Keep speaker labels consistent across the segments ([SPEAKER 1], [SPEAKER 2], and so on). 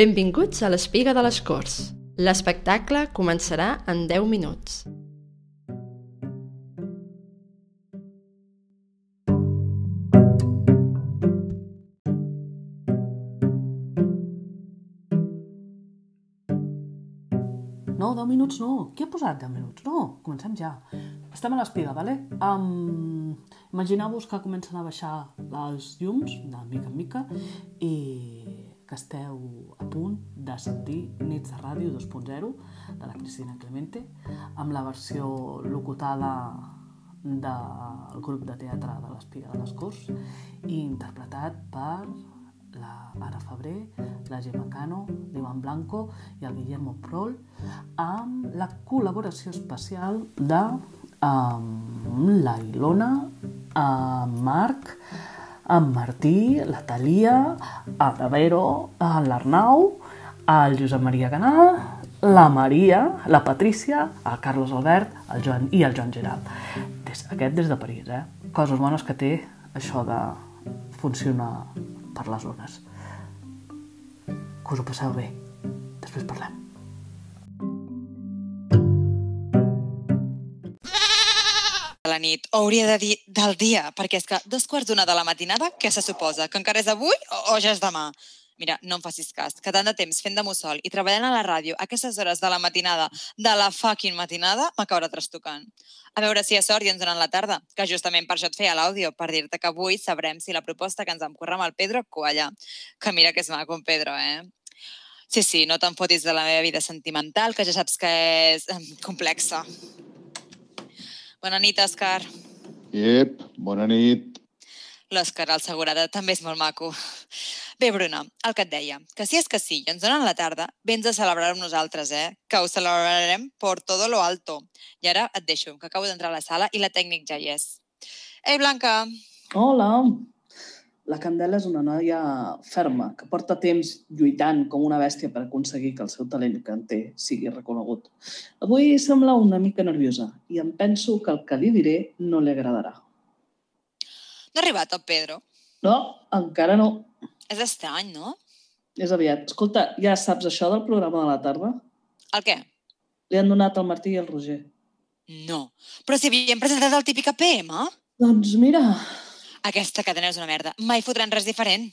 [SPEAKER 1] Benvinguts a l'Espiga de les Corts. L'espectacle començarà en 10 minuts.
[SPEAKER 2] No, 10 minuts no. Qui ha posat 10 minuts? No, comencem ja. Estem a l'espiga, vale? Um, Imagineu-vos que comencen a baixar les llums, de mica en mica, i que esteu a punt de sentir Nits de Ràdio 2.0, de la Cristina Clemente, amb la versió locutada del grup de teatre de l'Espiga de les Corts i interpretat per la Ara Febrer, la Gemma Cano, l'Ivan Blanco i el Guillermo Prol, amb la col·laboració especial de um, la Ilona, en Marc, en Martí, la Thalia, el Davero, l'Arnau, el Josep Maria Canal, la Maria, la Patrícia, el Carlos Albert, el Joan i el Joan Gerald. Des, aquest des de París, eh? Coses bones que té això de funcionar per les zones. Que us ho passeu bé. Després parlem.
[SPEAKER 3] de la nit, o hauria de dir del dia, perquè és que dos quarts d'una de la matinada, què se suposa? Que encara és avui o, o ja és demà? Mira, no em facis cas, que tant de temps fent de mussol i treballant a la ràdio a aquestes hores de la matinada, de la fucking matinada, m'acabarà trastocant. A veure si a sort i ens donen la tarda, que justament per això et feia l'àudio, per dir-te que avui sabrem si la proposta que ens vam currar amb el Pedro qualla. Que mira que és maco, en Pedro, eh? Sí, sí, no te'n fotis de la meva vida sentimental, que ja saps que és em, complexa. Bona nit, Òscar.
[SPEAKER 4] Ep, bona nit.
[SPEAKER 3] L'Òscar, el segurada, també és molt maco. Bé, Bruna, el que et deia, que si és que sí i ens donen la tarda, vens a celebrar amb nosaltres, eh? Que ho celebrarem por todo lo alto. I ara et deixo, que acabo d'entrar a la sala i la tècnic ja hi és. Ei, Blanca!
[SPEAKER 2] Hola! La Candela és una noia ferma, que porta temps lluitant com una bèstia per aconseguir que el seu talent que en té sigui reconegut. Avui sembla una mica nerviosa i em penso que el que li diré no li agradarà.
[SPEAKER 3] No ha arribat el Pedro?
[SPEAKER 2] No, encara no.
[SPEAKER 3] És estrany, no?
[SPEAKER 2] És aviat. Escolta, ja saps això del programa de la tarda?
[SPEAKER 3] El què?
[SPEAKER 2] Li han donat al Martí i al Roger.
[SPEAKER 3] No. Però si havíem presentat el típic APM,
[SPEAKER 2] Doncs mira,
[SPEAKER 3] aquesta cadena és una merda. Mai fotran res diferent.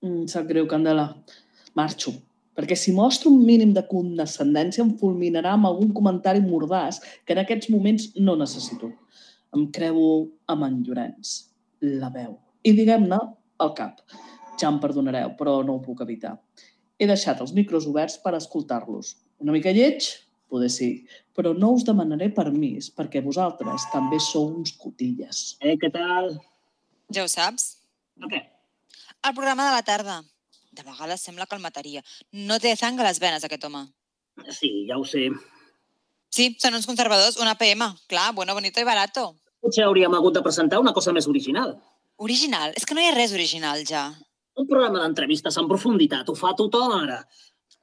[SPEAKER 2] Mm, em sap greu, Candela. Marxo. Perquè si mostro un mínim de condescendència em fulminarà amb algun comentari mordàs que en aquests moments no necessito. Em creu amb en Llorenç, la veu, i diguem-ne el cap. Ja em perdonareu, però no ho puc evitar. He deixat els micros oberts per escoltar-los. Una mica lleig? Poder sí, però no us demanaré permís perquè vosaltres també sou uns cotilles.
[SPEAKER 5] Eh, què tal?
[SPEAKER 3] Ja ho saps?
[SPEAKER 5] No, què?
[SPEAKER 3] El programa de la tarda. De vegades sembla que el mataria. No té sang a les venes, aquest home.
[SPEAKER 5] Sí, ja ho sé.
[SPEAKER 3] Sí, són uns conservadors, una PM. Clar, bueno, bonito i barato.
[SPEAKER 5] Potser hauríem hagut de presentar una cosa més original.
[SPEAKER 3] Original. És que no hi ha res original, ja.
[SPEAKER 5] Un programa d'entrevistes en profunditat, ho fa tothom ara.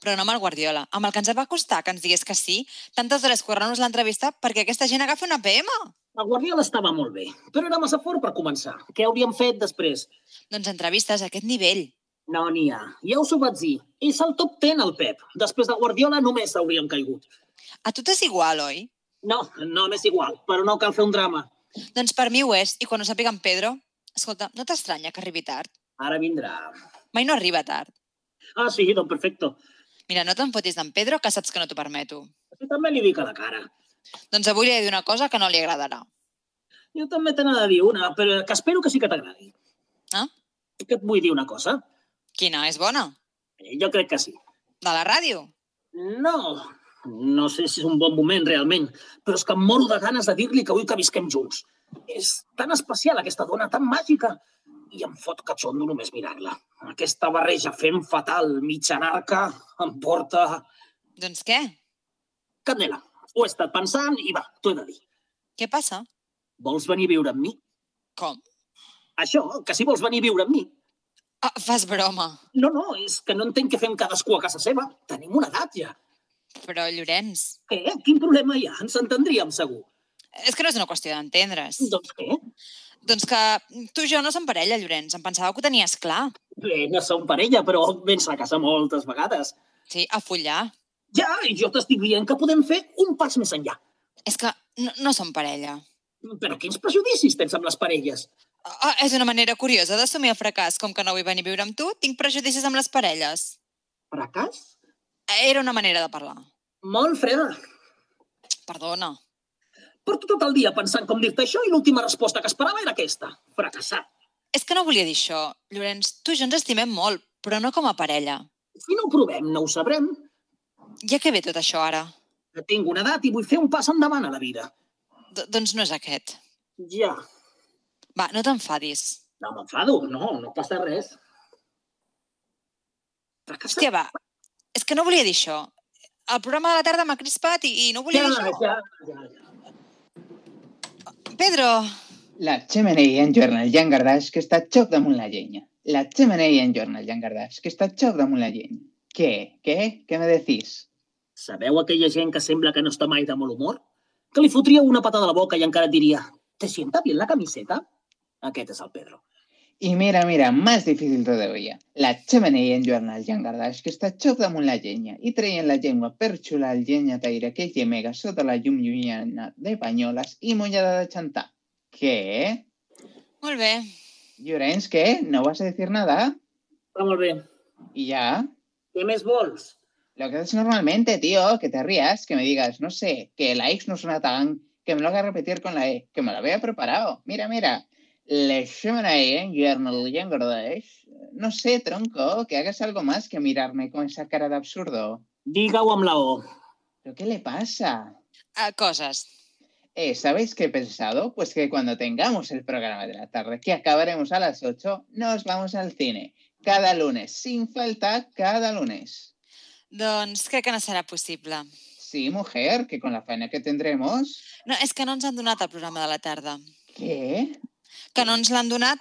[SPEAKER 3] Però no amb el Guardiola. Amb el que ens va costar que ens digués que sí, tantes hores currant-nos l'entrevista perquè aquesta gent agafa una PM.
[SPEAKER 5] La Guardiola estava molt bé, però era massa fort per començar. Què hauríem fet després?
[SPEAKER 3] Doncs entrevistes a aquest nivell.
[SPEAKER 5] No n'hi ha. Ja us ho vaig dir. És el top 10, el Pep. Després de Guardiola només hauríem caigut.
[SPEAKER 3] A tu t'és igual, oi?
[SPEAKER 5] No, no m'és igual, però no cal fer un drama.
[SPEAKER 3] Doncs per mi ho és, i quan ho sàpiga en Pedro... Escolta, no t'estranya que arribi tard?
[SPEAKER 5] Ara vindrà.
[SPEAKER 3] Mai no arriba tard.
[SPEAKER 5] Ah, sí, doncs perfecto.
[SPEAKER 3] Mira, no te'n fotis d'en Pedro, que saps que no t'ho permeto.
[SPEAKER 5] Jo també li dic a la cara.
[SPEAKER 3] Doncs avui li he de dir una cosa que no li agradarà.
[SPEAKER 5] Jo també te n'he de dir una, però que espero que sí que t'agradi.
[SPEAKER 3] Ah?
[SPEAKER 5] Que et vull dir una cosa.
[SPEAKER 3] Quina? És bona?
[SPEAKER 5] Eh, Jo crec que sí.
[SPEAKER 3] De la ràdio?
[SPEAKER 5] No, no sé si és un bon moment realment, però és que em moro de ganes de dir-li que vull que visquem junts. És tan especial aquesta dona, tan màgica, i em fot catxondo només mirar-la. Aquesta barreja fem fatal, mig anarca, em porta...
[SPEAKER 3] Doncs què?
[SPEAKER 5] Candela, ho he estat pensant i va, t'ho he de dir.
[SPEAKER 3] Què passa?
[SPEAKER 5] Vols venir a viure amb mi?
[SPEAKER 3] Com?
[SPEAKER 5] Això, que si vols venir a viure amb mi.
[SPEAKER 3] Ah, fas broma.
[SPEAKER 5] No, no, és que no entenc què fem cadascú a casa seva. Tenim una Eh, edat ja.
[SPEAKER 3] Però, Llorenç,
[SPEAKER 5] Què? Quin problema hi ha? Ens entendríem, segur.
[SPEAKER 3] és que no és una qüestió d'entendre's.
[SPEAKER 5] Doncs què?
[SPEAKER 3] Doncs que tu i jo no som parella, Llorenç. Em pensava que ho tenies clar.
[SPEAKER 5] Bé, no som parella, però vens a casa moltes vegades.
[SPEAKER 3] Sí, a follar.
[SPEAKER 5] Ja, i jo t'estic dient que podem fer un pas més enllà.
[SPEAKER 3] És que no, no som parella.
[SPEAKER 5] Però quins prejudicis tens amb les parelles?
[SPEAKER 3] Ah, és una manera curiosa d'assumir el fracàs. Com que no vull venir a viure amb tu, tinc prejudicis amb les parelles. Eh,
[SPEAKER 5] Fracàs?
[SPEAKER 3] Era una manera de parlar.
[SPEAKER 5] Molt freda.
[SPEAKER 3] Perdona.
[SPEAKER 5] Porto tot el dia pensant com dir-te això i l'última resposta que esperava era aquesta. Fracassar.
[SPEAKER 3] És que no volia dir això. Llorenç, tu i jo ens estimem molt, però no com a parella.
[SPEAKER 5] Si no ho provem, no ho sabrem.
[SPEAKER 3] Ja que ve tot això ara?
[SPEAKER 5] Que Tinc una edat i vull fer un pas endavant a la vida.
[SPEAKER 3] D doncs no és aquest.
[SPEAKER 5] Ja.
[SPEAKER 3] Va, no t'enfadis.
[SPEAKER 5] No m'enfado, no, no passa res. Fracassar.
[SPEAKER 3] Hòstia, va. És que no volia dir això. El programa de la tarda m'ha crispat i, i no volia
[SPEAKER 5] ja,
[SPEAKER 3] dir això.
[SPEAKER 5] ja, ja, ja.
[SPEAKER 3] Pedro,
[SPEAKER 6] La xemeneia enjorna el llangardaix que està xop damunt la llenya. La xemeneia enjorna el llangardaix que està xop damunt la llenya. Què? Què? Què me decís?
[SPEAKER 5] Sabeu aquella gent que sembla que no està mai de molt humor? Que li fotria una patada a la boca i encara et diria «Te sienta bien la camiseta?» Aquest és el Pedro.
[SPEAKER 6] I mira, mira, más difícil todavía. La xemeneia enjorna el llangardaix que està xop damunt la llenya i traient la llengua per xular el llenyataire que gemega sota la llum llunyana de banyoles i mullada de xantar. Què?
[SPEAKER 3] molt bé.
[SPEAKER 6] Llorenç, què? No vas a decir nada?
[SPEAKER 5] Està Ah, molt bé.
[SPEAKER 6] I ja?
[SPEAKER 5] Què més vols?
[SPEAKER 6] Lo que haces normalmente, tío, que te rías, que me digas, no sé, que la X no suena tan, que me lo haga repetir con la E, que me lo había preparado. Mira, mira. Le llaman a E, Journal Yangardash. No sé, tronco, que hagas algo más que mirarme con esa cara de absurdo.
[SPEAKER 5] Digue-ho amb la O.
[SPEAKER 6] ¿Pero qué le pasa?
[SPEAKER 3] A coses.
[SPEAKER 6] Eh, ¿Sabéis qué he pensado? Pues que cuando tengamos el programa de la tarde, que acabaremos a las 8, nos vamos al cine. Cada lunes, sin falta, cada lunes.
[SPEAKER 3] Doncs crec que no serà possible.
[SPEAKER 6] Sí, mujer, que con la faena que tendremos...
[SPEAKER 3] No, és que no ens han donat el programa de la tarda.
[SPEAKER 6] ¿Qué?
[SPEAKER 3] Que no ens l'han donat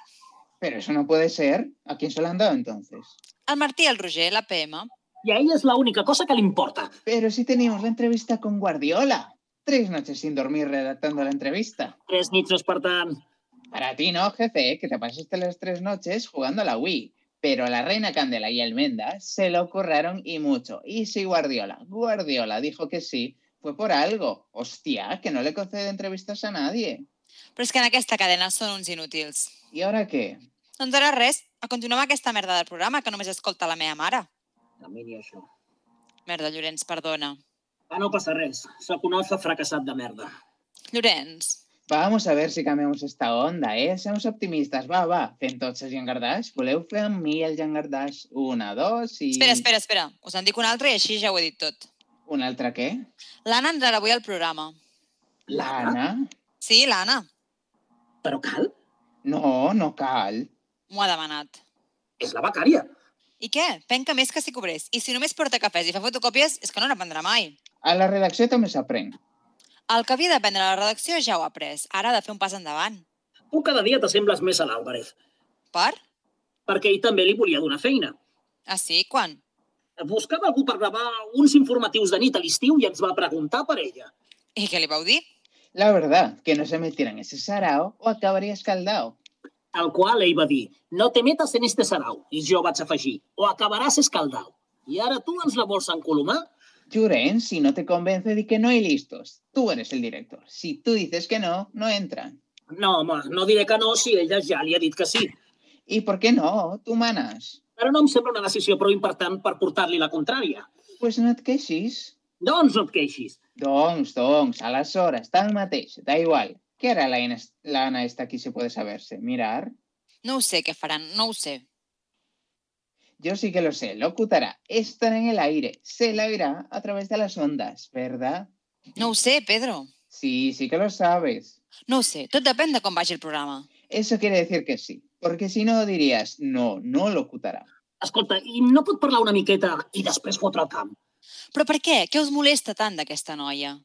[SPEAKER 6] Pero eso no puede ser. ¿A quién se lo han dado entonces?
[SPEAKER 3] el Martí, el Roger, la PM.
[SPEAKER 5] I a ell és l'única cosa que li importa.
[SPEAKER 6] Pero sí teníamos la entrevista con Guardiola. Tres noches sin dormir redactando la entrevista.
[SPEAKER 5] Tres nits despertant.
[SPEAKER 6] Para ti no, jefe, ¿eh? que te pasaste las tres noches jugando a la Wii. Pero la reina Candela y Almenda se lo curraron y mucho. Y si Guardiola, Guardiola dijo que sí, fue por algo. Hostia, que no le concede entrevistas a nadie.
[SPEAKER 3] Però és que en aquesta cadena són uns inútils.
[SPEAKER 6] ¿Y ahora qué?
[SPEAKER 3] Doncs ara res, a continuar amb aquesta merda del programa que només escolta la meva mare.
[SPEAKER 5] A mi ni això.
[SPEAKER 3] Merda, Llorenç, perdona.
[SPEAKER 5] Ah, no passa res. Sóc un alfa fracassat de merda.
[SPEAKER 3] Llorenç,
[SPEAKER 6] Vamos a ver si cambiamos esta onda, ¿eh? Seamos optimistas, va, va. Fem tots el llangardaix, voleu fer amb mi el llangardaix? Una, dos i...
[SPEAKER 3] espera, espera, espera. Us en dic una altra i així ja ho he dit tot.
[SPEAKER 6] Un altre què?
[SPEAKER 3] L'Anna entrarà avui al programa.
[SPEAKER 6] L'Anna?
[SPEAKER 3] Sí, l'Anna.
[SPEAKER 5] Però cal?
[SPEAKER 6] No, no cal.
[SPEAKER 3] M'ho ha demanat.
[SPEAKER 5] És la becària.
[SPEAKER 3] I què? Penca més que si cobrés. I si només porta cafès i fa fotocòpies, és que no n'aprendrà mai.
[SPEAKER 6] A la redacció també s'aprèn.
[SPEAKER 3] El que havia d'aprendre a la redacció ja ho ha après. Ara ha de fer un pas endavant.
[SPEAKER 5] Tu cada dia t'assembles més a l'Àlvarez,
[SPEAKER 3] Per?
[SPEAKER 5] perquè ell també li volia donar feina.
[SPEAKER 3] Ah, sí? Quan?
[SPEAKER 5] Buscava algú per gravar uns informatius de nit a l'estiu i ens va preguntar per ella.
[SPEAKER 3] I què li vau dir?
[SPEAKER 6] La verdad, que no se metieran ese sarao o acabaría escaldao.
[SPEAKER 5] Al qual ell va dir, no te metes en este sarau. I jo vaig afegir, o acabaràs escaldau. I ara tu ens la vols encolomar?
[SPEAKER 6] Juren, si no te convence, di que no y listos. Tú eres el director. Si tú dices que no, no entran.
[SPEAKER 5] No, home, no diré que no si ella ja li ha dit que sí.
[SPEAKER 6] ¿Y por qué no? Tú manas.
[SPEAKER 5] Però no em sembla una decisió prou important per portar-li la contrària.
[SPEAKER 6] Pues no et queixis.
[SPEAKER 5] Doncs no et queixis.
[SPEAKER 6] Doncs, doncs, aleshores, tal mateix, da igual. Què harà la Ines- l'Anna esta aquí, si puede saberse? Mirar?
[SPEAKER 3] No ho sé què faran, no ho sé.
[SPEAKER 6] Yo sí que lo sé, locutará, estará en el aire, se la oirá a través de las ondas, ¿verdad?
[SPEAKER 3] No ho sé, Pedro.
[SPEAKER 6] Sí, sí que lo sabes.
[SPEAKER 3] No ho sé. Tot depèn de com vagi el programa.
[SPEAKER 6] Eso quiere decir que sí, porque si no dirías, no, no locutará.
[SPEAKER 5] Escolta, i no pot parlar una miqueta i després fotre el camp.
[SPEAKER 3] Però per què? Què us molesta tant d'aquesta noia?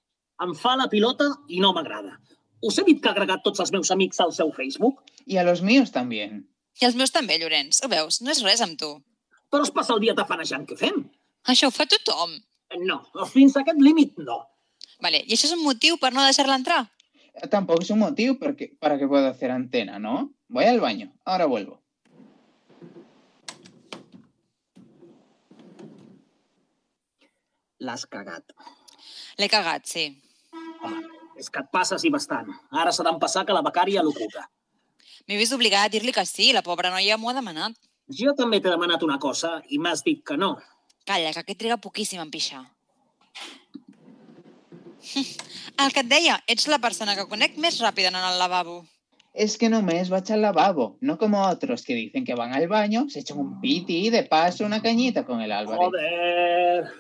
[SPEAKER 5] Em fa la pilota i no m'agrada. Us he dit que ha agregat tots els meus amics al seu Facebook,
[SPEAKER 6] Y a los míos también.
[SPEAKER 3] I els meus també, Llorenç. Ho veus? No és res amb tu.
[SPEAKER 5] però es passa el dia tafanejant què fem.
[SPEAKER 3] Això ho fa tothom.
[SPEAKER 5] No, fins a aquest límit no.
[SPEAKER 3] Vale, i això és un motiu per no deixar-la entrar?
[SPEAKER 7] tampoco es un motivo porque, para que pueda hacer antena, ¿no? Voy al baño, ahora vuelvo.
[SPEAKER 5] L'has cagat.
[SPEAKER 3] L'he cagat, sí.
[SPEAKER 5] Home, és que et passes i bastant. Ara s'ha d'empassar que la becària l'ocupa.
[SPEAKER 3] M'he vist obligada a dir-li que sí, la pobra noia m'ho ha demanat.
[SPEAKER 5] Jo també t'he demanat una cosa i m'has dit que no.
[SPEAKER 3] Calla, que aquest triga poquíssim en pixar. El que et deia, ets la persona que conec més ràpid en anar al lavabo.
[SPEAKER 7] Es que només vaig al lavabo, no como otros que dicen que van al baño, se echan un piti y de paso una cañita con el Álvarez.
[SPEAKER 5] Joder!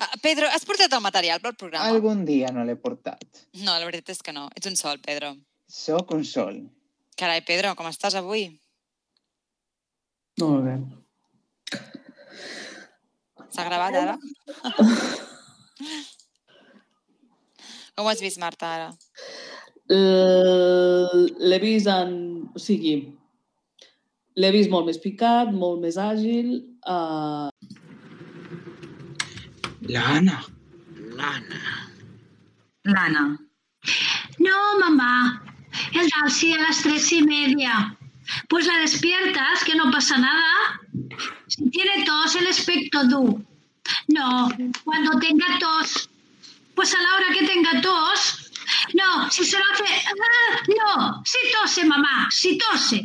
[SPEAKER 3] Ah, Pedro, has portat el material pel programa?
[SPEAKER 7] Algun dia no l'he portat.
[SPEAKER 3] No, la veritat és que no. Ets un sol, Pedro.
[SPEAKER 7] Sóc un sol.
[SPEAKER 3] Carai, Pedro, com estàs avui?
[SPEAKER 8] Molt bé.
[SPEAKER 3] S'ha gravat ara? com ho has vist, Marta, ara?
[SPEAKER 2] L- L'he vist Eh, en... O sigui, l'he vist molt més picat, molt més àgil. Uh,
[SPEAKER 6] L'Anna. L'Anna.
[SPEAKER 9] L'Anna.
[SPEAKER 10] No, mamá. El taxi a las tres y media. Pues la despiertas, que no pasa nada. Si tiene tos, el aspecto tú. No, cuando tenga tos. Pues a la hora que tenga tos. No, si se lo hace. ¡Ah! No, si tose, mamá, si tose.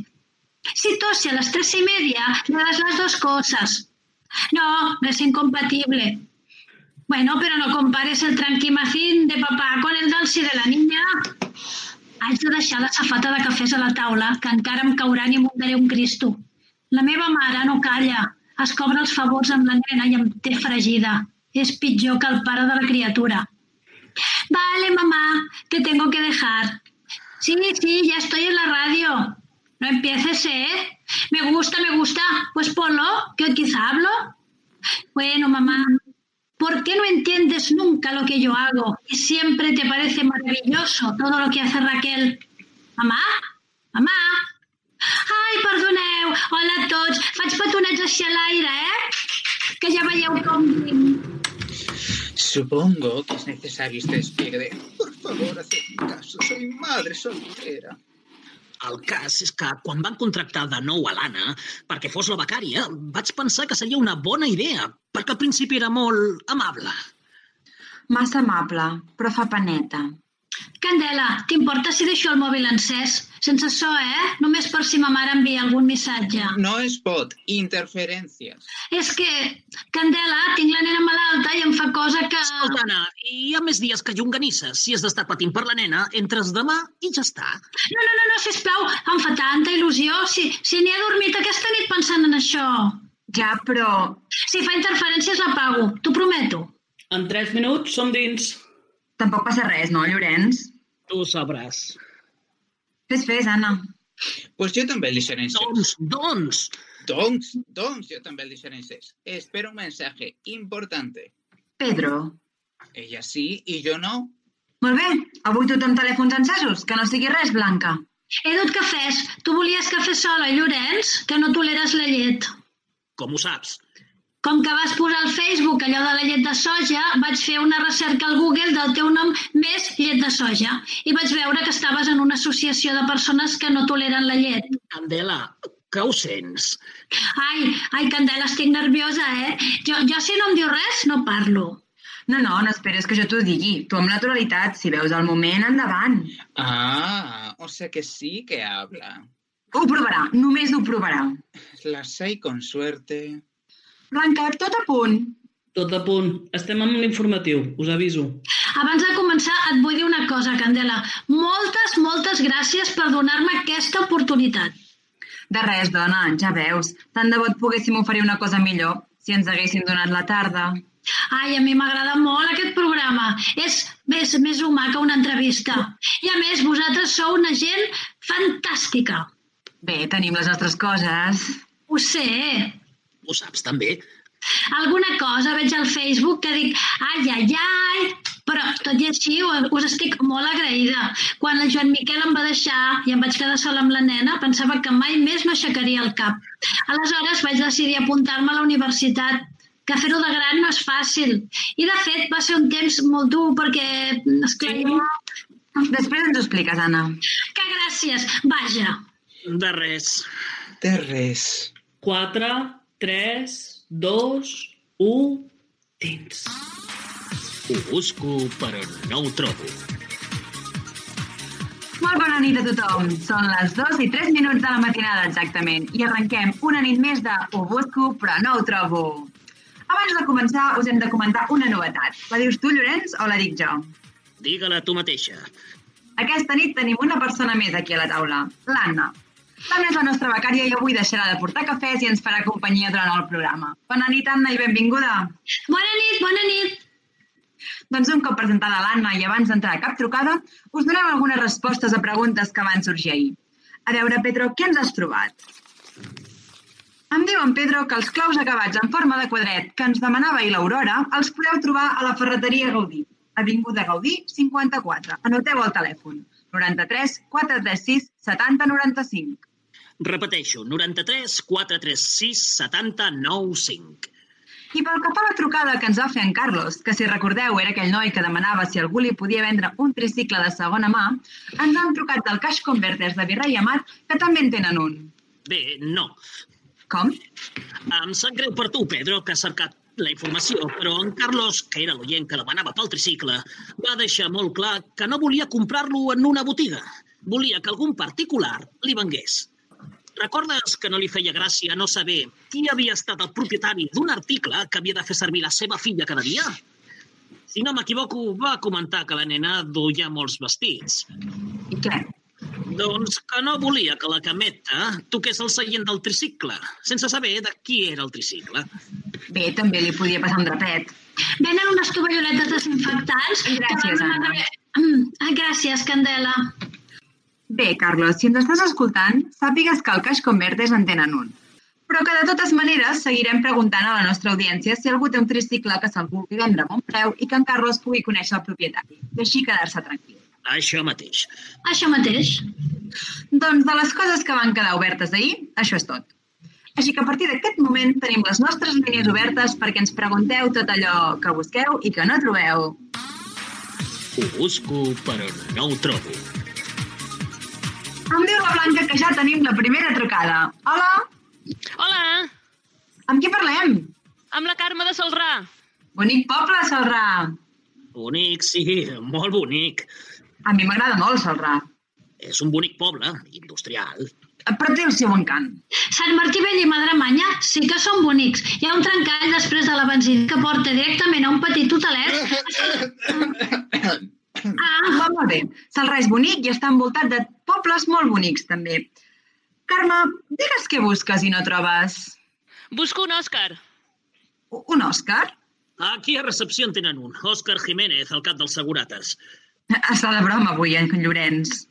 [SPEAKER 10] Si tose a las tres y media, le das las dos cosas. No, es incompatible. Bueno, pero no compares el tranquimacín de papà con el del sí de la niña. Haig de deixar la safata de cafès a la taula, que encara em cauran i mundaré un cristo. La meva mare no calla. Es cobra els favors amb la nena i em té fregida. És pitjor que el pare de la criatura. Vale, mamá, te tengo que dejar. Sí, sí, ya estoy en la radio. No empieces, ¿eh? Me gusta, me gusta. Pues ponlo, que quizá hablo. Bueno, mamá, ¿Por qué no entiendes nunca lo que yo hago y siempre te parece maravilloso todo lo que hace Raquel? Mamá? Mamá? Ai, perdoneu. Hola a tots. Faig petonets així a l'aire, eh? Que ja veieu com vinc.
[SPEAKER 6] Supongo que es necesario este despliegue de... Por favor, haced caso, soy madre soltera.
[SPEAKER 5] El cas és que quan van contractar de nou a l'Anna perquè fos la becària, vaig pensar que seria una bona idea, perquè al principi era molt amable.
[SPEAKER 9] Massa amable, però fa paneta.
[SPEAKER 10] Candela, t'importa si deixo el mòbil encès? Sense so, eh? Només per si ma mare envia algun missatge.
[SPEAKER 6] No es bot, interferencias.
[SPEAKER 10] És que, Candela, tinc la nena malalta i em fa cosa que...
[SPEAKER 8] Ah.
[SPEAKER 5] Escolta, Anna, hi ha més dies que llonganisses si has d'estar patint per la nena entre es demà i ja està.
[SPEAKER 10] No, no, no, no, sisplau, em fa tanta il·lusió. Si, si n'he dormit aquesta nit pensant en això.
[SPEAKER 9] Ja, però
[SPEAKER 10] Si fa interferències l'apago, t'ho prometo.
[SPEAKER 8] En tres minuts som dins.
[SPEAKER 9] tampoc passa res, no, Llorenç?
[SPEAKER 5] Tu sabràs.
[SPEAKER 9] Fes, fes, Anna.
[SPEAKER 6] Pues yo también li seré incés.
[SPEAKER 5] Doncs, doncs,
[SPEAKER 6] Doncs, doncs, yo también li seré incés. Espero un mensaje importante.
[SPEAKER 9] Pedro.
[SPEAKER 6] Ella sí y yo no.
[SPEAKER 9] Molt bé, avui tothom telèfons encesos, que no sigui res, Blanca.
[SPEAKER 10] He dut cafès. Tu volies cafè sola, Llorenç, que no toleres la llet.
[SPEAKER 5] com ho saps?
[SPEAKER 10] Com que vas posar al Facebook allò de la llet de soja, vaig fer una recerca al Google del teu nom més llet de soja i vaig veure que estaves en una associació de persones que no toleren la llet.
[SPEAKER 5] Candela, que ho sents?
[SPEAKER 10] Ai, ai, Candela, estic nerviosa, eh? Jo, jo si no em diu res, no parlo.
[SPEAKER 9] No, no, no esperes que jo t'ho digui. Tu amb naturalitat, si veus el moment, endavant.
[SPEAKER 6] Ah, o sea que sí que habla.
[SPEAKER 9] Ho provarà, només ho provarà.
[SPEAKER 6] Pues Las hay con suerte.
[SPEAKER 9] Blanca, tot a punt.
[SPEAKER 8] Tot a punt. Estem amb l'informatiu, us aviso.
[SPEAKER 10] Abans de començar et vull dir una cosa, Candela. Moltes, moltes gràcies per donar-me aquesta oportunitat.
[SPEAKER 9] De res, dona, ja veus. Tant de bo et poguéssim oferir una cosa millor si ens haguéssim donat la tarda.
[SPEAKER 10] Ai, a mi m'agrada molt aquest programa. És més, més humà que una entrevista. I a més, vosaltres sou una gent fantàstica.
[SPEAKER 9] Bé, tenim les nostres coses.
[SPEAKER 10] Ho sé.
[SPEAKER 5] Ho saps també?
[SPEAKER 10] Alguna cosa veig al Facebook que dic ai, ai, ai, però tot i així u- us estic molt agraïda. Quan el Joan Miquel em va deixar i em vaig quedar sola amb la nena, pensava que mai més no aixecaria el cap. Aleshores vaig decidir apuntar-me a la universitat que fer-ho de gran no és fàcil. I, de fet, va ser un temps molt dur perquè, esclar, jo Després ens ho expliques, Anna.
[SPEAKER 3] Que gràcies, vaja.
[SPEAKER 5] De res.
[SPEAKER 6] De res.
[SPEAKER 5] 4, 3, 2, 1... Tens.
[SPEAKER 11] Ho busco, però no ho trobo.
[SPEAKER 10] Molt bona nit a tothom. Són les 2 i 3 minuts de la matinada, exactament, i arrenquem una nit més de Ho busco, però no ho trobo. Abans de començar, us hem de comentar una novetat. La dius tu, Llorenç, o la dic jo?
[SPEAKER 5] Digue-la tu mateixa.
[SPEAKER 10] Aquesta nit tenim una persona més aquí a la taula, l'Anna. L'Anna és la nostra becària i avui deixarà de portar cafès i ens farà companyia durant el programa. Bona nit, Anna, i benvinguda.
[SPEAKER 3] Bona nit, bona nit.
[SPEAKER 10] Doncs un cop presentada l'Anna i abans d'entrar a cap trucada, us donem algunes respostes a preguntes que van sorgir ahir. A veure, Pedro, què ens has trobat? Em diuen, Pedro, que els claus acabats en forma de quadret que ens demanava ahir l'Aurora els podeu trobar a la ferreteria Gaudí, Avinguda Gaudí 54. Anoteu el telèfon 93 436 70 95.
[SPEAKER 5] Repeteixo, 93 436 70 95.
[SPEAKER 10] I pel que fa a la trucada que ens va fer en Carlos, que si recordeu era aquell noi que demanava si algú li podia vendre un tricicle de segona mà, ens han trucat del Cash Converters de Virrei Amat, que també en tenen un.
[SPEAKER 5] Bé, no.
[SPEAKER 10] Com?
[SPEAKER 5] Em sap greu per tu, Pedro, que has cercat la informació, però en Carlos, que era l'oient que demanava pel tricicle, va deixar molt clar que no volia comprar-lo en una botiga. Volia que algun particular li vengués. Recordes que no li feia gràcia no saber qui havia estat el propietari d'un article que havia de fer servir la seva filla cada dia? Si no m'equivoco, va comentar que la nena duia molts vestits.
[SPEAKER 10] I què?
[SPEAKER 5] Doncs que no volia que la cameta toqués el seient del tricicle, sense saber de qui era el tricicle.
[SPEAKER 10] Bé, també li podia passar un drapet.
[SPEAKER 3] Venen unes tovalloletes desinfectants.
[SPEAKER 10] Gràcies,
[SPEAKER 3] que van
[SPEAKER 10] Anna.
[SPEAKER 3] anar- Mm, ah, gràcies, Candela.
[SPEAKER 10] Bé, Carlos, si ens estàs escoltant, sàpigues que el Cash Converters en tenen un. Però que de totes maneres seguirem preguntant a la nostra audiència si algú té un tricicle que se'l vulgui vendre a bon preu i que en Carlos pugui conèixer el propietari i així quedar-se tranquil.
[SPEAKER 5] Això mateix.
[SPEAKER 3] Això mateix.
[SPEAKER 10] Doncs de les coses que van quedar obertes ahir, això és tot. Així que a partir d'aquest moment tenim les nostres línies obertes perquè ens pregunteu tot allò que busqueu i que no trobeu.
[SPEAKER 11] Ho busco, però no ho trobo.
[SPEAKER 10] Em diu la Blanca que ja tenim la primera trucada. Hola,
[SPEAKER 12] Hola,
[SPEAKER 10] amb qui parlem?
[SPEAKER 12] amb la Carme de Salrà.
[SPEAKER 10] Bonic poble, Salrà.
[SPEAKER 5] Bonic, sí, molt bonic.
[SPEAKER 10] A mi m'agrada molt Salrà,
[SPEAKER 5] És un bonic poble, industrial.
[SPEAKER 10] però té el seu encant.
[SPEAKER 3] Sant Martí Vell i Madremanya sí que són bonics. Hi ha un trencall després de la benzina que porta directament a un petit hotelet.
[SPEAKER 10] Ah, va molt bé. Salrà és bonic i està envoltat de pobles molt bonics, també. Carme, digues què busques i no trobes.
[SPEAKER 12] Busco un Òscar.
[SPEAKER 10] Un Òscar?
[SPEAKER 5] Aquí a recepció en tenen un, Òscar Jiménez, el cap dels segurates.
[SPEAKER 10] Està de broma avui, en Llorenç.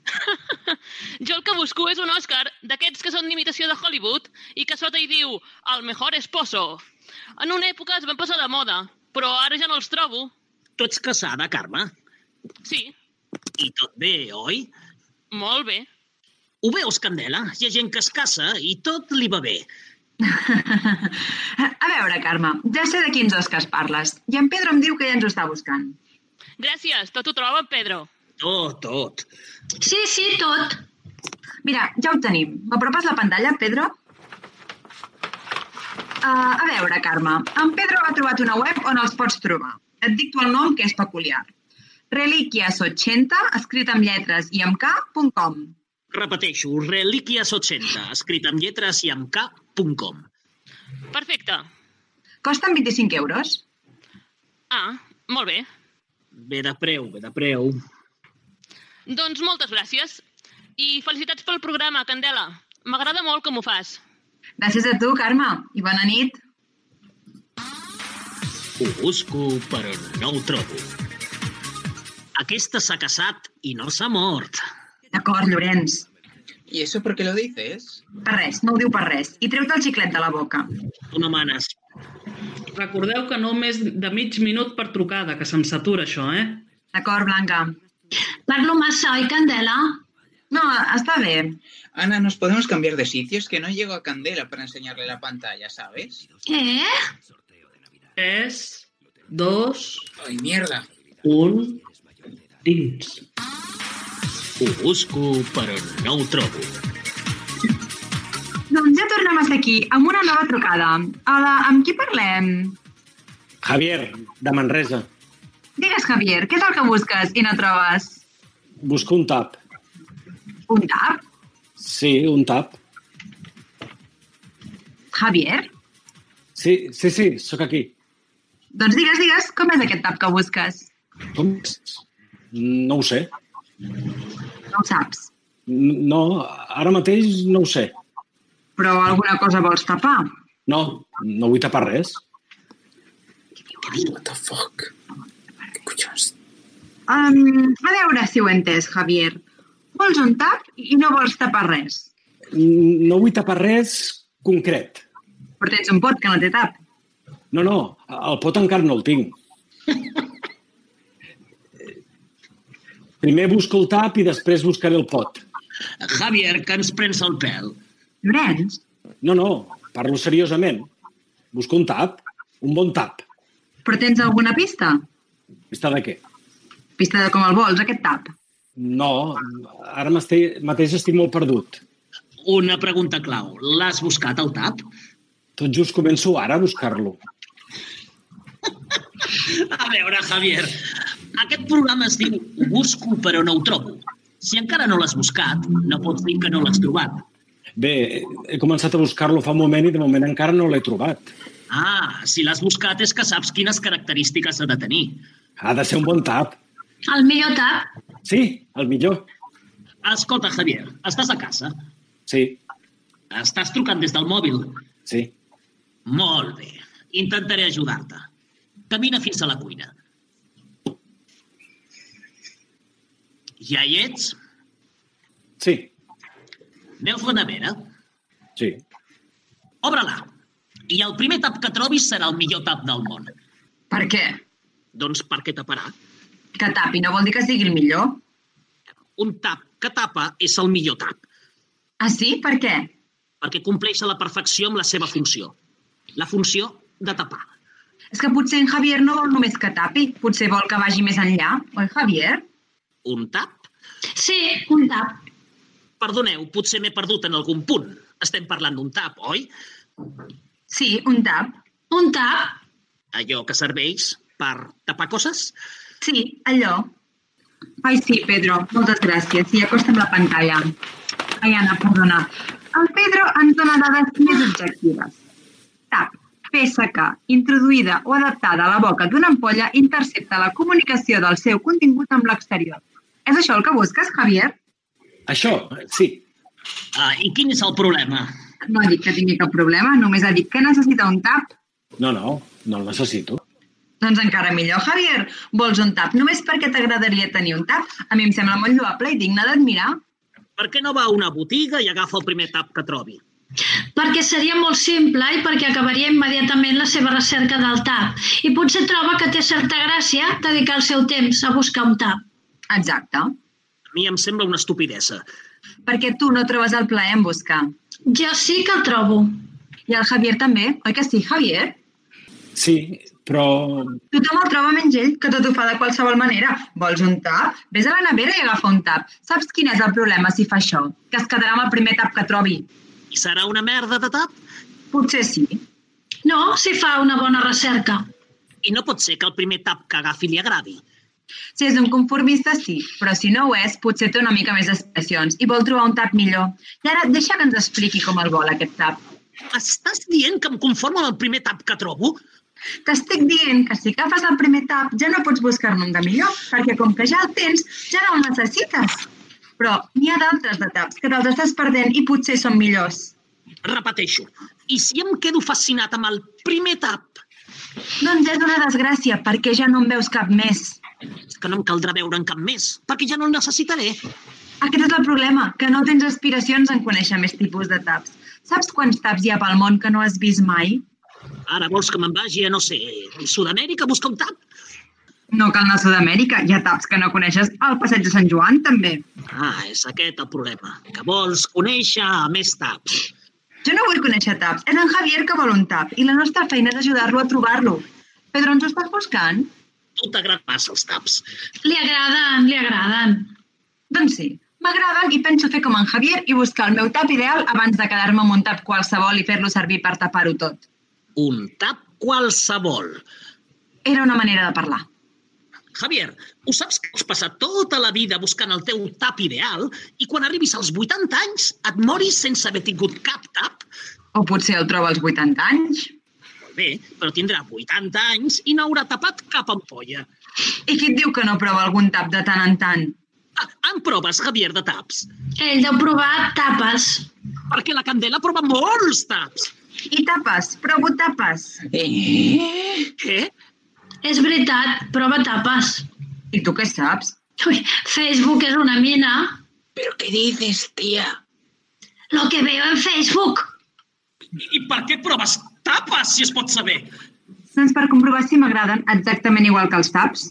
[SPEAKER 12] Jo el que busco és un Òscar d'aquests que són d'imitació de Hollywood i que sota hi diu el mejor esposo. En una època es van passar de moda, però ara ja no els trobo.
[SPEAKER 5] Tu ets casada, Carme?
[SPEAKER 12] Sí,
[SPEAKER 5] I tot bé, oi?
[SPEAKER 12] molt bé.
[SPEAKER 5] Ho veus, Candela? Hi ha gent que es casa i tot li va bé.
[SPEAKER 10] A veure, Carme, ja sé de quins Òscars parles. I en Pedro em diu que ja ens ho està buscant.
[SPEAKER 12] Gràcies, tot ho troba, Pedro.
[SPEAKER 5] Tot, tot.
[SPEAKER 3] Sí, sí, tot.
[SPEAKER 10] Mira, ja ho tenim. M'apropes la pantalla, Pedro? Uh, a veure, Carme, en Pedro ha trobat una web on els pots trobar. Et dicto el nom, que és peculiar. Reliquias80, escrit amb lletres i amb k.com.
[SPEAKER 5] Repeteixo, Relíquies 80, escrit amb lletres i amb k.com.
[SPEAKER 12] Perfecte.
[SPEAKER 10] Costen 25 euros.
[SPEAKER 12] Ah, molt bé.
[SPEAKER 5] Ve de preu, ve de preu.
[SPEAKER 12] Doncs moltes gràcies. I felicitats pel programa, Candela. M'agrada molt com ho fas.
[SPEAKER 10] Gràcies a tu, Carme, i bona nit.
[SPEAKER 11] Ho busco, però no ho trobo.
[SPEAKER 5] Aquesta s'ha casat i no s'ha mort.
[SPEAKER 10] D'acord, Llorenç.
[SPEAKER 6] ¿Y eso por qué lo dices?
[SPEAKER 10] Per res, no ho diu per res. I treu-te el xiclet de la boca.
[SPEAKER 5] Tu no manes.
[SPEAKER 2] Recordeu que no més de mig minut per trucada, que se'm satura això, eh?
[SPEAKER 10] D'acord, Blanca.
[SPEAKER 3] Parlo massa, oi, Candela?
[SPEAKER 10] No, està bé.
[SPEAKER 6] Ana, ¿nos podemos cambiar de sitios? Que no llego a Candela para enseñarle la pantalla, ¿sabes?
[SPEAKER 3] Eh?
[SPEAKER 2] Tres, dos...
[SPEAKER 6] ¡Ay, mierda!
[SPEAKER 2] Un... Dins.
[SPEAKER 13] Ho busco, però no ho trobo.
[SPEAKER 10] Doncs ja tornem a ser aquí, amb una nova trucada. Hola, amb qui parlem?
[SPEAKER 14] Javier, de Manresa.
[SPEAKER 10] Digues, Javier, què és el que busques i no trobes?
[SPEAKER 14] Busco un tap.
[SPEAKER 10] Un tap?
[SPEAKER 14] Sí, un tap.
[SPEAKER 10] Javier?
[SPEAKER 14] Sí, sí, sí, sóc aquí.
[SPEAKER 10] Doncs digues, digues, com és aquest tap que busques?
[SPEAKER 14] Com? és? No ho sé.
[SPEAKER 10] No ho saps,
[SPEAKER 14] N- No, ara mateix no ho sé.
[SPEAKER 10] però alguna cosa vols tapar.
[SPEAKER 14] No, no vull tapar res.
[SPEAKER 15] What the fuck? Què collons?
[SPEAKER 10] Um, a veure si ho he entès, Javier. Vols un tap i no vols tapar res,
[SPEAKER 14] N- No vull tapar res concret.
[SPEAKER 10] però tens un pot que no té tap.
[SPEAKER 14] No, no, el pot encara no el tinc. Primer busco el tap i després buscaré el pot.
[SPEAKER 5] Javier, que ens prens el pèl.
[SPEAKER 10] Llorenç?
[SPEAKER 14] No, no, parlo seriosament. Busco un tap, un bon tap.
[SPEAKER 10] Però tens alguna pista?
[SPEAKER 14] Està de què?
[SPEAKER 10] Pista de com el vols, aquest tap.
[SPEAKER 14] No, ara m'esti- mateix estic molt perdut.
[SPEAKER 5] Una pregunta clau. L'has buscat al tap?
[SPEAKER 14] Tot just començo ara a buscar-lo.
[SPEAKER 5] A veure, Javier, aquest programa es diu Ho busco però no ho trobo. Si encara no l'has buscat, no pots dir que no l'has trobat.
[SPEAKER 14] Bé, he començat a buscar-lo fa un moment i de moment encara no l'he trobat.
[SPEAKER 5] Ah, si l'has buscat és que saps quines característiques ha de tenir.
[SPEAKER 14] Ha de ser un bon tap.
[SPEAKER 12] El millor tap.
[SPEAKER 14] Sí, el millor.
[SPEAKER 5] Escolta, Javier, estàs a casa?
[SPEAKER 14] Sí,
[SPEAKER 5] Estàs trucant des del mòbil?
[SPEAKER 14] sí.
[SPEAKER 5] Molt bé. Intentaré ajudar-te. Camina fins a la cuina. Ja hi ets?
[SPEAKER 14] Sí.
[SPEAKER 5] Veus la nevera?
[SPEAKER 14] Sí.
[SPEAKER 5] Obre-la. I el primer tap que trobis serà el millor tap del món.
[SPEAKER 10] Per què?
[SPEAKER 5] Doncs perquè taparà.
[SPEAKER 10] Que tapi no vol dir que sigui el millor.
[SPEAKER 5] Un tap que tapa és el millor tap.
[SPEAKER 10] Ah, sí? Per què?
[SPEAKER 5] perquè compleix a la perfecció amb la seva funció. La funció de tapar.
[SPEAKER 10] És que potser en Javier no vol només que tapi, potser vol que vagi més enllà, oi, Javier?
[SPEAKER 5] Un tap?
[SPEAKER 12] Sí, un tap.
[SPEAKER 5] Perdoneu, potser m'he perdut en algun punt. Estem parlant d'un tap, oi?
[SPEAKER 10] Sí, un tap.
[SPEAKER 12] Un tap?
[SPEAKER 5] Allò que serveix per tapar coses?
[SPEAKER 10] Sí, allò. Ai, sí, Pedro, moltes gràcies. Sí, acosta'm la pantalla. Ai, Anna, perdona. El Pedro ens dona dades més objectives. Tap, peça que, introduïda o adaptada a la boca d'una ampolla, intercepta la comunicació del seu contingut amb l'exterior. És això el que busques, Javier?
[SPEAKER 14] Això, sí.
[SPEAKER 5] Ah, I quin és el problema?
[SPEAKER 10] No ha dit que tingui cap problema, només ha dit que necessita un tap.
[SPEAKER 14] No, no, no el necessito.
[SPEAKER 10] Doncs encara millor, Javier. Vols un tap només perquè t'agradaria tenir un tap? A mi em sembla molt lloable i digne d'admirar.
[SPEAKER 5] Per què no va a una botiga i agafa el primer tap que trobi?
[SPEAKER 12] Perquè seria molt simple i perquè acabaria immediatament la seva recerca del tap. I potser troba que té certa gràcia dedicar el seu temps a buscar un tap.
[SPEAKER 10] Exacte.
[SPEAKER 5] A mi em sembla una estupidesa.
[SPEAKER 10] Perquè tu no trobes el plaer en buscar.
[SPEAKER 12] Jo sí que el trobo.
[SPEAKER 10] I el Javier també, oi que sí, Javier?
[SPEAKER 14] Sí, però...
[SPEAKER 10] Tothom el troba menys ell, que tot ho fa de qualsevol manera. Vols un tap? Ves a la nevera i agafa un tap. Saps quin és el problema si fa això? Que es quedarà amb el primer tap que trobi.
[SPEAKER 5] I serà una merda de tap?
[SPEAKER 10] Potser sí.
[SPEAKER 12] No, si fa una bona recerca.
[SPEAKER 5] I no pot ser que el primer tap que agafi li agradi.
[SPEAKER 10] Si és un conformista, sí, però si no ho és, potser té una mica més d'expressions i vol trobar un tap millor. I ara, deixa que ens expliqui com el vol, aquest tap.
[SPEAKER 5] Estàs dient que em conformo amb el primer tap que trobo?
[SPEAKER 10] T'estic dient que si agafes el primer tap ja no pots buscar-ne un de millor, perquè com que ja el tens, ja no el necessites. Però n'hi ha d'altres de taps que te'ls estàs perdent i potser són millors.
[SPEAKER 5] Repeteixo. I si em quedo fascinat amb el primer tap
[SPEAKER 10] Doncs és una desgràcia, perquè ja no en veus cap més.
[SPEAKER 5] És que no em caldrà veure'n cap més, perquè ja no el necessitaré.
[SPEAKER 10] Aquest és el problema, que no tens aspiracions en conèixer més tipus de taps. Saps quants taps hi ha pel món que no has vist mai?
[SPEAKER 5] Ara vols que me'n vagi a, no sé, Sud-amèrica a buscar un tap?
[SPEAKER 10] No cal anar a Sud-amèrica, hi ha taps que no coneixes al passeig de Sant Joan, també.
[SPEAKER 5] Ah, és aquest el problema, que vols conèixer més taps.
[SPEAKER 10] Jo no vull conèixer taps, és en Javier que vol un tap i la nostra feina és ajudar-lo a trobar-lo. Pedro, ens ho estàs buscant?
[SPEAKER 5] Tu t'agrada massa els taps.
[SPEAKER 12] Li agraden, li agraden.
[SPEAKER 10] Doncs sí, M'agraden i penso fer com en Javier i buscar el meu tap ideal abans de quedar-me amb un tap qualsevol i fer-lo servir per tapar-ho tot.
[SPEAKER 5] Un tap qualsevol.
[SPEAKER 10] Era una manera de parlar.
[SPEAKER 5] Javier, ho saps que has passat tota la vida buscant el teu tap ideal i quan arribis als 80 anys et moris sense haver tingut cap tap?
[SPEAKER 10] O potser el trobo als 80 anys.
[SPEAKER 5] Molt bé, però tindrà 80 anys i no haurà tapat cap ampolla.
[SPEAKER 10] I qui et diu que no prova algun tap de tant en tant?
[SPEAKER 5] Ah, en proves, Javier, de taps.
[SPEAKER 12] Ell deu provar tapes.
[SPEAKER 5] Perquè la Candela prova molts taps.
[SPEAKER 10] I tapes, provo tapes.
[SPEAKER 5] Eh? Què?
[SPEAKER 12] És veritat, prova tapes.
[SPEAKER 10] I tu què saps?
[SPEAKER 12] Ui, Facebook és una mina.
[SPEAKER 10] Però què dices, tia?
[SPEAKER 12] Lo que veo en Facebook.
[SPEAKER 5] I, i per què proves tapes, si es pot saber?
[SPEAKER 10] Doncs per comprovar si m'agraden exactament igual que els taps.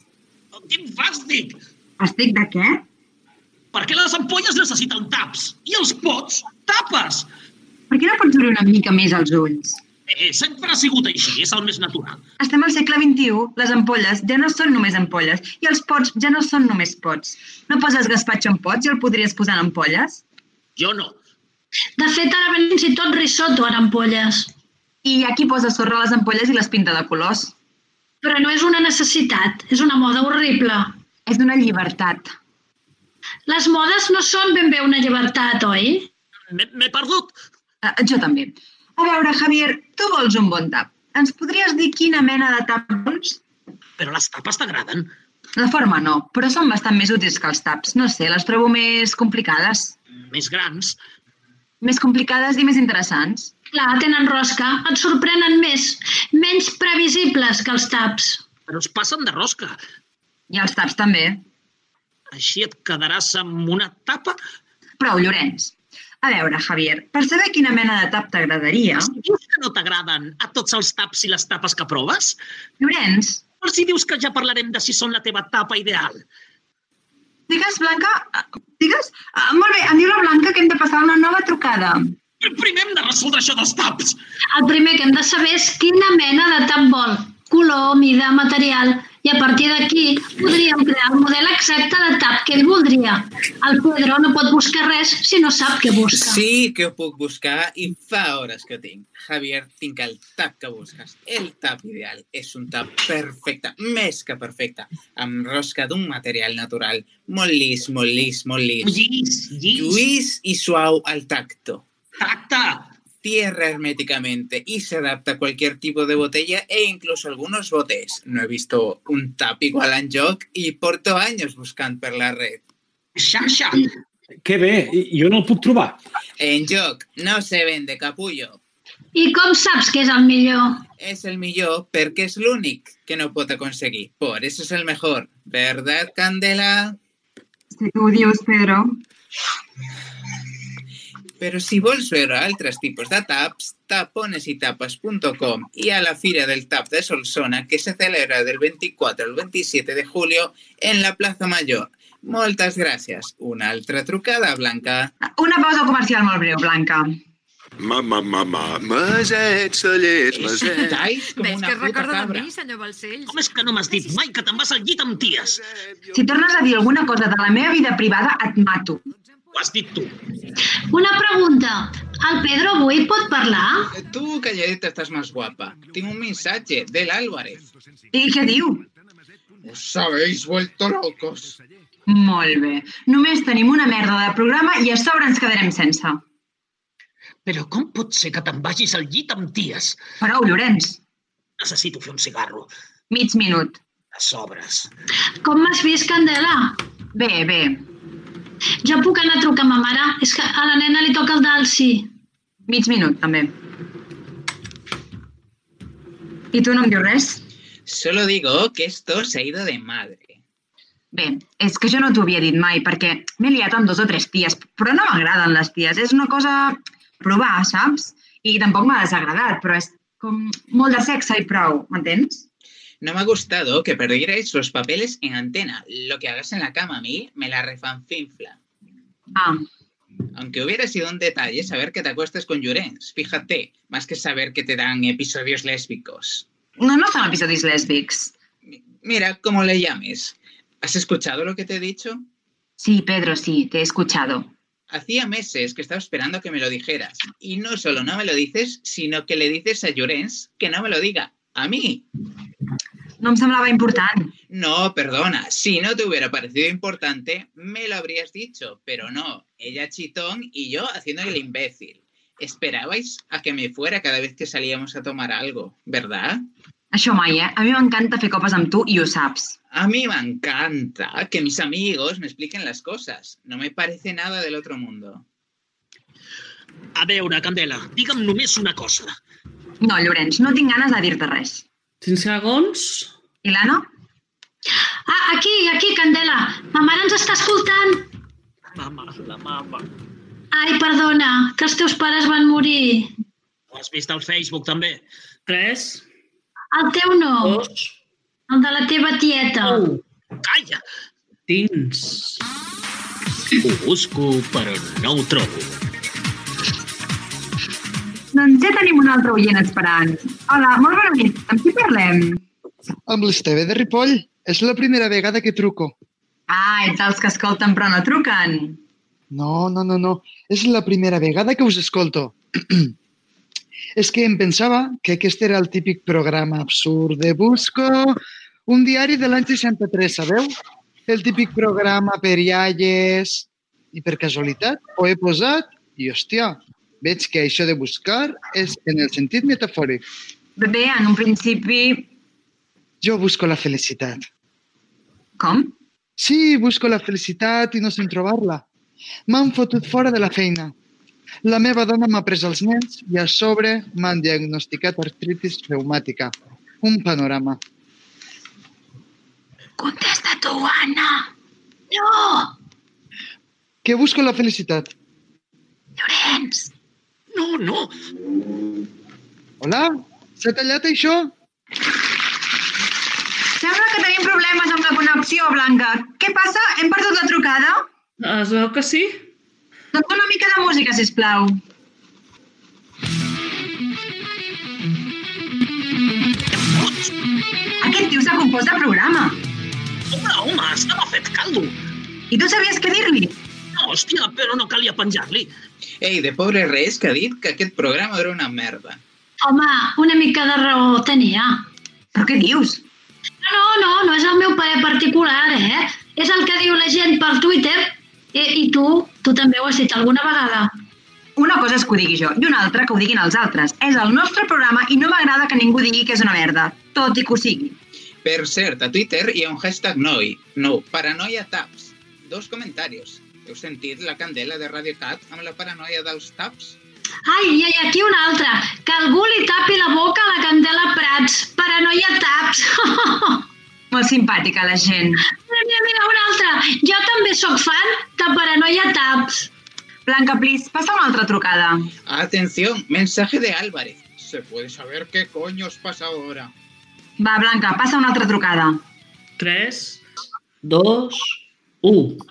[SPEAKER 5] Quin fàstic!
[SPEAKER 10] Estic de què?
[SPEAKER 5] Perquè les ampolles necessiten taps i els pots tapes.
[SPEAKER 10] Per què no pots obrir una mica més els ulls?
[SPEAKER 5] Eh, sempre ha sigut així, és el més natural.
[SPEAKER 10] Estem al segle XXI, les ampolles ja no són només ampolles i els pots ja no són només pots. No poses gaspatxo en pots i el podries posar en ampolles?
[SPEAKER 5] Jo no.
[SPEAKER 12] De fet, ara venim si tot risotto en ampolles.
[SPEAKER 10] I hi ha qui posa sorra a les ampolles i les pinta de colors.
[SPEAKER 12] Però no és una necessitat, és una moda horrible.
[SPEAKER 10] És una llibertat.
[SPEAKER 12] Les modes no són ben bé una llibertat, oi?
[SPEAKER 5] M'he perdut.
[SPEAKER 10] Uh, jo també. A veure, Javier, tu vols un bon tap. Ens podries dir quina mena de tap vols?
[SPEAKER 5] Però les tapes t'agraden.
[SPEAKER 10] La forma no, però són bastant més útils que els taps. No sé, les trobo més complicades.
[SPEAKER 5] Més grans.
[SPEAKER 10] Més complicades i més interessants.
[SPEAKER 12] Clar, tenen rosca. Et sorprenen més. Menys previsibles que els taps.
[SPEAKER 5] Però es passen de rosca.
[SPEAKER 10] I els taps també.
[SPEAKER 5] Així et quedaràs amb una tapa?
[SPEAKER 10] Prou, Llorenç. A veure, Javier, per saber quina mena de tap t'agradaria...
[SPEAKER 5] Els dius que no t'agraden a tots els taps i les tapes que proves?
[SPEAKER 10] Llorenç,
[SPEAKER 5] Els hi dius que ja parlarem de si són la teva tapa ideal.
[SPEAKER 10] digues, Blanca... ah, Digues? Ah, molt bé, em diu la Blanca que hem de passar una nova trucada.
[SPEAKER 5] Però Primer hem de resoldre això dels taps.
[SPEAKER 12] El primer que hem de saber és quina mena de tap vol, color, mida, material, i a partir d'aquí podríem crear el model exacte de tap que ell voldria. El Pedro no pot buscar res si no sap què busca.
[SPEAKER 6] Sí que ho puc buscar i fa hores que ho tinc. Javier, tinc el tap que busques. El tap ideal és un tap perfecte, més que perfecte, amb rosca d'un material natural, molt llis, molt llis, molt llis.
[SPEAKER 5] Llis, llis.
[SPEAKER 6] Lluís i suau al tacto.
[SPEAKER 5] ¡Tacta!
[SPEAKER 6] Cierra herméticamente y se adapta a cualquier tipo de botella e incluso algunos botes. No he visto un tap igual en joc y porto años buscant per la red.
[SPEAKER 5] Xarxa!
[SPEAKER 14] Que bé, i- jo no el puc trobar.
[SPEAKER 6] En joc no se vende capullo.
[SPEAKER 12] I com saps que és el millor?
[SPEAKER 6] Es el millor porque es l'únic que no pot aconseguir. Por eso es el mejor. ¿Verdad, Candela?
[SPEAKER 10] Si tu ho dius, Pedro.
[SPEAKER 6] Però si vols veure altres tipus de taps, taponesitapes.com y a la Fira del Tap de Solsona, que se celebra del 24 al 27 de julio en la Plaza Mayor. Moltes gràcies. Una altra trucada, Blanca.
[SPEAKER 10] Una pausa comercial molt breu, Blanca.
[SPEAKER 16] Mama, mama, maset, cellet, maset.
[SPEAKER 10] Ves que recorda de mi,
[SPEAKER 5] senyor Balcells. Com és que no m'has dit mai que te'n vas al llit amb ties?
[SPEAKER 10] Si tornes a dir alguna cosa de la meva vida privada, et mato.
[SPEAKER 5] Ho has dit tu.
[SPEAKER 12] Una pregunta. El Pedro avui pot parlar?
[SPEAKER 6] Tu, calladeta, estàs més guapa. Tinc un missatge del Álvarez.
[SPEAKER 10] I què diu?
[SPEAKER 6] Os habéis vuelto locos.
[SPEAKER 10] Molt bé. Només tenim una merda de programa i a sobre ens quedarem sense.
[SPEAKER 5] Però com pot ser que te'n vagis al llit amb ties?
[SPEAKER 10] Prou, Llorenç.
[SPEAKER 5] Necessito fer un cigarro.
[SPEAKER 10] Mig minut.
[SPEAKER 5] A sobres.
[SPEAKER 12] Com m'has vist, Candela?
[SPEAKER 10] Bé, bé.
[SPEAKER 12] Jo puc anar a trucar a ma mare? És que a la nena li toca el dalsi.
[SPEAKER 10] Mig minut, també. I tu no em dius res?
[SPEAKER 6] Solo digo que esto se ha ido de madre.
[SPEAKER 10] Bé, és que jo no t'ho havia dit mai, perquè m'he liat amb dos o tres ties, però no m'agraden les ties. És una cosa a provar, saps? I tampoc m'ha desagradat, però és com molt de sexe i prou, m'entens?
[SPEAKER 6] No me ha gustado que perdierais los papeles en antena. Lo que hagas en la cama a mí me la refanfinfla.
[SPEAKER 10] Ah,
[SPEAKER 6] Aunque hubiera sido un detalle saber que te acuestas con Llorens. Fíjate, más que saber que te dan episodios lésbicos.
[SPEAKER 10] no, no són episodis lèsbics.
[SPEAKER 6] Mira, como le llames. ¿Has escuchado lo que te he dicho?
[SPEAKER 10] Sí, Pedro, sí, te he escuchado.
[SPEAKER 6] Hacía meses que estaba esperando que me lo dijeras. Y no solo no me lo dices, sino que le dices a Llorens que no me lo diga. A mí.
[SPEAKER 10] No me semblaba importante.
[SPEAKER 6] No, perdona. Si no te hubiera parecido importante, me lo habrías dicho. Pero no. Ella chitón y yo haciendo el imbécil. Esperabais a que me fuera cada vez que salíamos a tomar algo, ¿verdad?
[SPEAKER 10] Això mai, eh? A mi m'encanta fer copes amb tu i ho saps.
[SPEAKER 6] A mí me encanta que mis amigos me expliquen las cosas. No me parece nada del otro mundo.
[SPEAKER 5] A veure, Candela, digue'm només una cosa.
[SPEAKER 10] No, Llorenç, no tinc ganes de dir-te res.
[SPEAKER 17] Cinc segons.
[SPEAKER 10] I l'Anna?
[SPEAKER 18] Ah, aquí, aquí, Candela. Ma mare ens està escoltant.
[SPEAKER 5] Mama, la mama.
[SPEAKER 18] Ai, perdona, que els teus pares van morir.
[SPEAKER 5] Ho has vist al Facebook, també.
[SPEAKER 17] Tres.
[SPEAKER 18] El teu no.
[SPEAKER 17] Dos.
[SPEAKER 18] El de la teva tieta.
[SPEAKER 17] Oh,
[SPEAKER 5] calla!
[SPEAKER 17] Tins.
[SPEAKER 19] Ho busco, però no ho trobo.
[SPEAKER 10] Doncs ja tenim un altre oient esperant. Hola, molt bona nit. Amb qui parlem?
[SPEAKER 12] Amb l'Esteve de Ripoll. És la primera vegada que truco.
[SPEAKER 10] Ah, ets els que escolten però no truquen.
[SPEAKER 12] No, no, no, no. És la primera vegada que us escolto. és que em pensava que aquest era el típic programa absurd de Busco, un diari de l'any 63, sabeu? El típic programa per iaies... I per casualitat ho he posat i, hòstia, veig que això de buscar és en el sentit metafòric.
[SPEAKER 10] Bé, en un principi...
[SPEAKER 12] Jo busco la felicitat.
[SPEAKER 10] Com?
[SPEAKER 12] Sí, busco la felicitat i no sé on trobar-la. M'han fotut fora de la feina. La meva dona m'ha pres els nens i a sobre m'han diagnosticat artritis reumàtica. Un panorama.
[SPEAKER 18] Contesta tu, Anna. No,
[SPEAKER 12] Que busco la felicitat.
[SPEAKER 18] Llorenç.
[SPEAKER 5] No, no.
[SPEAKER 12] Hola? S'ha tallat això?
[SPEAKER 10] Sembla que tenim problemes amb la connexió, Blanca. Què passa? Hem perdut la trucada?
[SPEAKER 17] Es veu que sí.
[SPEAKER 10] Doncs una mica de música, si plau. Aquest tio s'ha compost el programa.
[SPEAKER 5] Home, home, estava fet caldo.
[SPEAKER 10] I tu sabies què dir-li?
[SPEAKER 5] No, hòstia, però no calia penjar-li.
[SPEAKER 6] Ei, de pobre res que ha dit que aquest programa era una merda.
[SPEAKER 18] Home, una mica de raó tenia.
[SPEAKER 10] Però què dius?
[SPEAKER 18] No, no, no, no és el meu parer particular, eh? És el que diu la gent per Twitter. I, i tu, tu també ho has dit alguna vegada.
[SPEAKER 10] Una cosa és que ho digui jo i una altra que ho diguin els altres. És el nostre programa i no m'agrada que ningú digui que és una merda, tot i que ho sigui.
[SPEAKER 6] Per cert, a Twitter hi ha un hashtag noi. No, paranoia taps. Dos comentaris. Heu sentit la candela de Radio Cat amb la paranoia dels taps?
[SPEAKER 18] Ai, i hi ha aquí una altra. Que algú li tapi la boca a la Candela Prats. Paranoia taps.
[SPEAKER 10] Molt simpàtica la gent.
[SPEAKER 18] mira, mira, mira, una altra. Jo també sóc fan de Paranoia taps.
[SPEAKER 10] Blanca, please, passa una altra trucada.
[SPEAKER 6] Atención, mensaje de Álvarez. ¿Se puede saber qué coño os pasa ahora?
[SPEAKER 10] Va, Blanca, passa una altra trucada.
[SPEAKER 17] 3, 2, 1.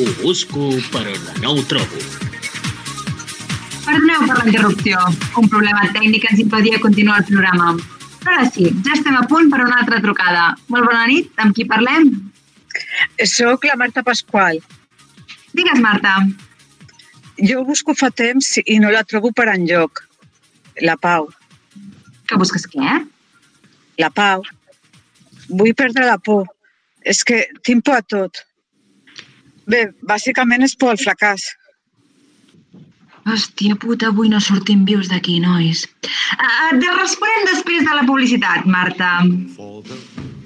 [SPEAKER 19] Ho busco, però no ho trobo.
[SPEAKER 10] Perdoneu per la interrupció. Un problema tècnic ens impedia continuar el programa. Però ara sí, ja estem a punt per una altra trucada. Molt bona nit, amb qui parlem?
[SPEAKER 20] Soc la Marta Pasqual.
[SPEAKER 10] Digues, Marta.
[SPEAKER 20] Jo busco fa temps i no la trobo per enlloc. La pau.
[SPEAKER 10] Que busques què?
[SPEAKER 20] La pau. Vull perdre la por. És que tinc por a tot. Bé, bàsicament és por al fracàs.
[SPEAKER 10] Hòstia puta, avui no sortim vius d'aquí, nois. Uh, et responem després de la publicitat, Marta.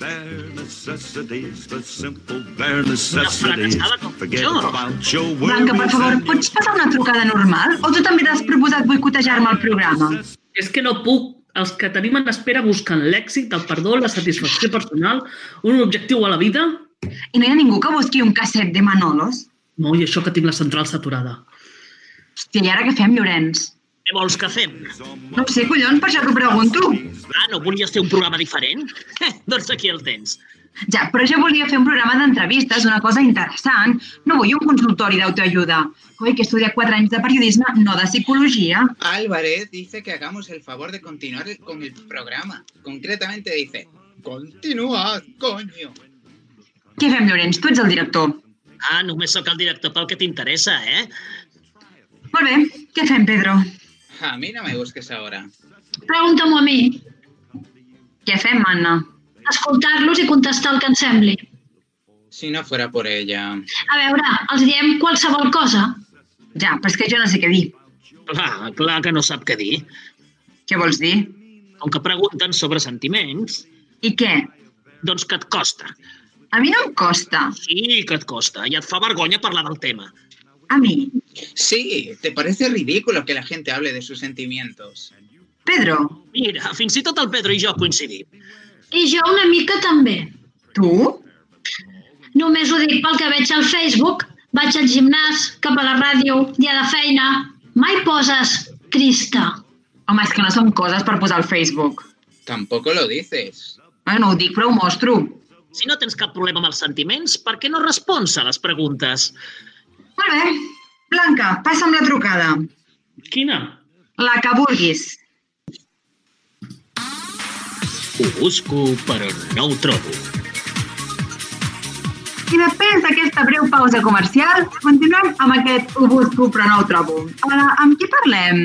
[SPEAKER 4] Bare necessities, the simple bare necessities.
[SPEAKER 5] fracassada com
[SPEAKER 4] Forget
[SPEAKER 5] jo.
[SPEAKER 4] about your
[SPEAKER 10] Blanca, per
[SPEAKER 4] worries
[SPEAKER 10] favor,
[SPEAKER 4] and
[SPEAKER 10] pots passar una trucada normal? O tu també t'has proposat boicotejar-me el programa?
[SPEAKER 17] És que no puc. Els que tenim en espera busquen l'èxit, el perdó, la satisfacció personal, un objectiu a la vida.
[SPEAKER 10] I no hi ha ningú que busqui un casset de Manolos?
[SPEAKER 17] No, i això que tinc la central saturada.
[SPEAKER 10] Hòstia, i ara què fem, Llorenç?
[SPEAKER 5] Què vols que fem?
[SPEAKER 10] No ho sé, collons, per això t'ho pregunto.
[SPEAKER 5] Ah, no volies fer un programa diferent? Eh, doncs aquí el tens.
[SPEAKER 10] Ja, però jo volia fer un programa d'entrevistes, una cosa interessant. No vull un consultori d'autoajuda. Coi, que estudia quatre anys de periodisme, no de psicologia.
[SPEAKER 6] Álvarez dice que hagamos el favor de continuar con el programa. Concretamente dice, continuad, coño.
[SPEAKER 10] Què fem, Llorenç? Tu ets el director.
[SPEAKER 5] Ah, només sóc el director pel que t'interessa, eh?
[SPEAKER 10] Molt bé, què fem, Pedro?
[SPEAKER 6] A mí no me busques ahora.
[SPEAKER 12] Pregunta-m'ho a mi.
[SPEAKER 10] Què fem, Anna?
[SPEAKER 12] Escoltar-los i contestar el que ens sembli.
[SPEAKER 6] Si no fuera por ella.
[SPEAKER 12] A veure, els diem qualsevol cosa.
[SPEAKER 10] Ja, però és que jo no sé què dir.
[SPEAKER 5] Clar, clar que no sap què dir.
[SPEAKER 10] Què vols dir?
[SPEAKER 5] Com que pregunten sobre sentiments...
[SPEAKER 10] I què?
[SPEAKER 5] Doncs que et costa.
[SPEAKER 10] A mi no em costa.
[SPEAKER 5] Sí, que et costa. I et fa vergonya parlar del tema.
[SPEAKER 10] A mi.
[SPEAKER 6] Sí, ¿te parece ridículo que la gente hable de sus sentimientos?
[SPEAKER 10] Pedro.
[SPEAKER 5] Mira, fins i tot el Pedro i jo coincidim.
[SPEAKER 12] I jo una mica també.
[SPEAKER 10] Tu?
[SPEAKER 12] Només ho dic pel que veig al Facebook. Vaig al gimnàs, cap a la ràdio, dia de feina. Mai poses trista.
[SPEAKER 10] Home, és que no són coses per posar al Facebook.
[SPEAKER 6] Tampoco lo dices.
[SPEAKER 10] Bueno, ho dic, però ho mostro.
[SPEAKER 5] Si no tens cap problema amb els sentiments, per què no respons a les preguntes?
[SPEAKER 10] Molt bé. Blanca, passa'm la trucada.
[SPEAKER 21] Quina?
[SPEAKER 10] La que vulguis.
[SPEAKER 13] Ho busco, però no ho trobo.
[SPEAKER 10] I després d'aquesta breu pausa comercial, continuem amb aquest ho busco però no ho trobo. Ara, amb qui parlem?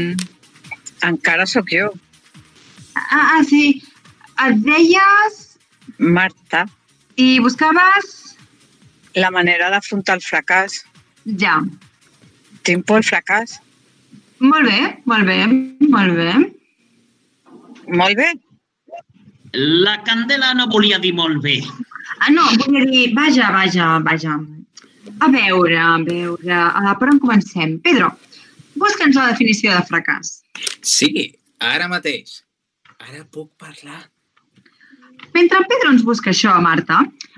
[SPEAKER 22] Encara sóc jo,
[SPEAKER 10] Ah, ah sí. Et deies
[SPEAKER 22] Marta.
[SPEAKER 10] i buscaves...
[SPEAKER 22] La manera d'afrontar el fracàs.
[SPEAKER 10] Ja.
[SPEAKER 22] Tinc por al fracàs.
[SPEAKER 10] Molt bé, molt bé, molt bé.
[SPEAKER 22] Molt bé.
[SPEAKER 5] La Candela no volia dir molt bé.
[SPEAKER 10] Ah, no, volia dir... Vaja, vaja, vaja. A veure, a veure... Ah, per on comencem? Pedro, busca'ns la definició de fracàs.
[SPEAKER 6] Sí, ara mateix. Ara puc parlar.
[SPEAKER 10] Mentre en Pedro ens busca això, Marta,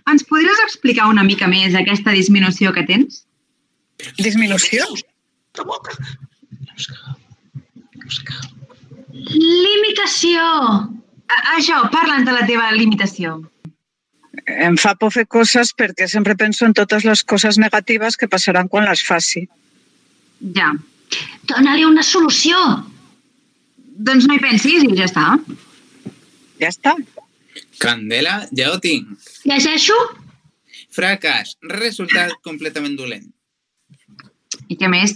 [SPEAKER 10] ens podries explicar una mica més aquesta disminució que tens?
[SPEAKER 22] Disminució?
[SPEAKER 12] Limitació.
[SPEAKER 10] A- Això, parla'ns de la teva limitació.
[SPEAKER 22] Em fa por fer coses perquè sempre penso en totes les coses negatives que passaran quan les faci.
[SPEAKER 10] Ja.
[SPEAKER 12] Dóna-li una solució.
[SPEAKER 10] Doncs no hi pensis i ja està.
[SPEAKER 22] Ja està.
[SPEAKER 6] Candela, ja ho tinc.
[SPEAKER 12] Llegeixo?
[SPEAKER 6] Fracàs, resultat completament dolent.
[SPEAKER 10] I què més?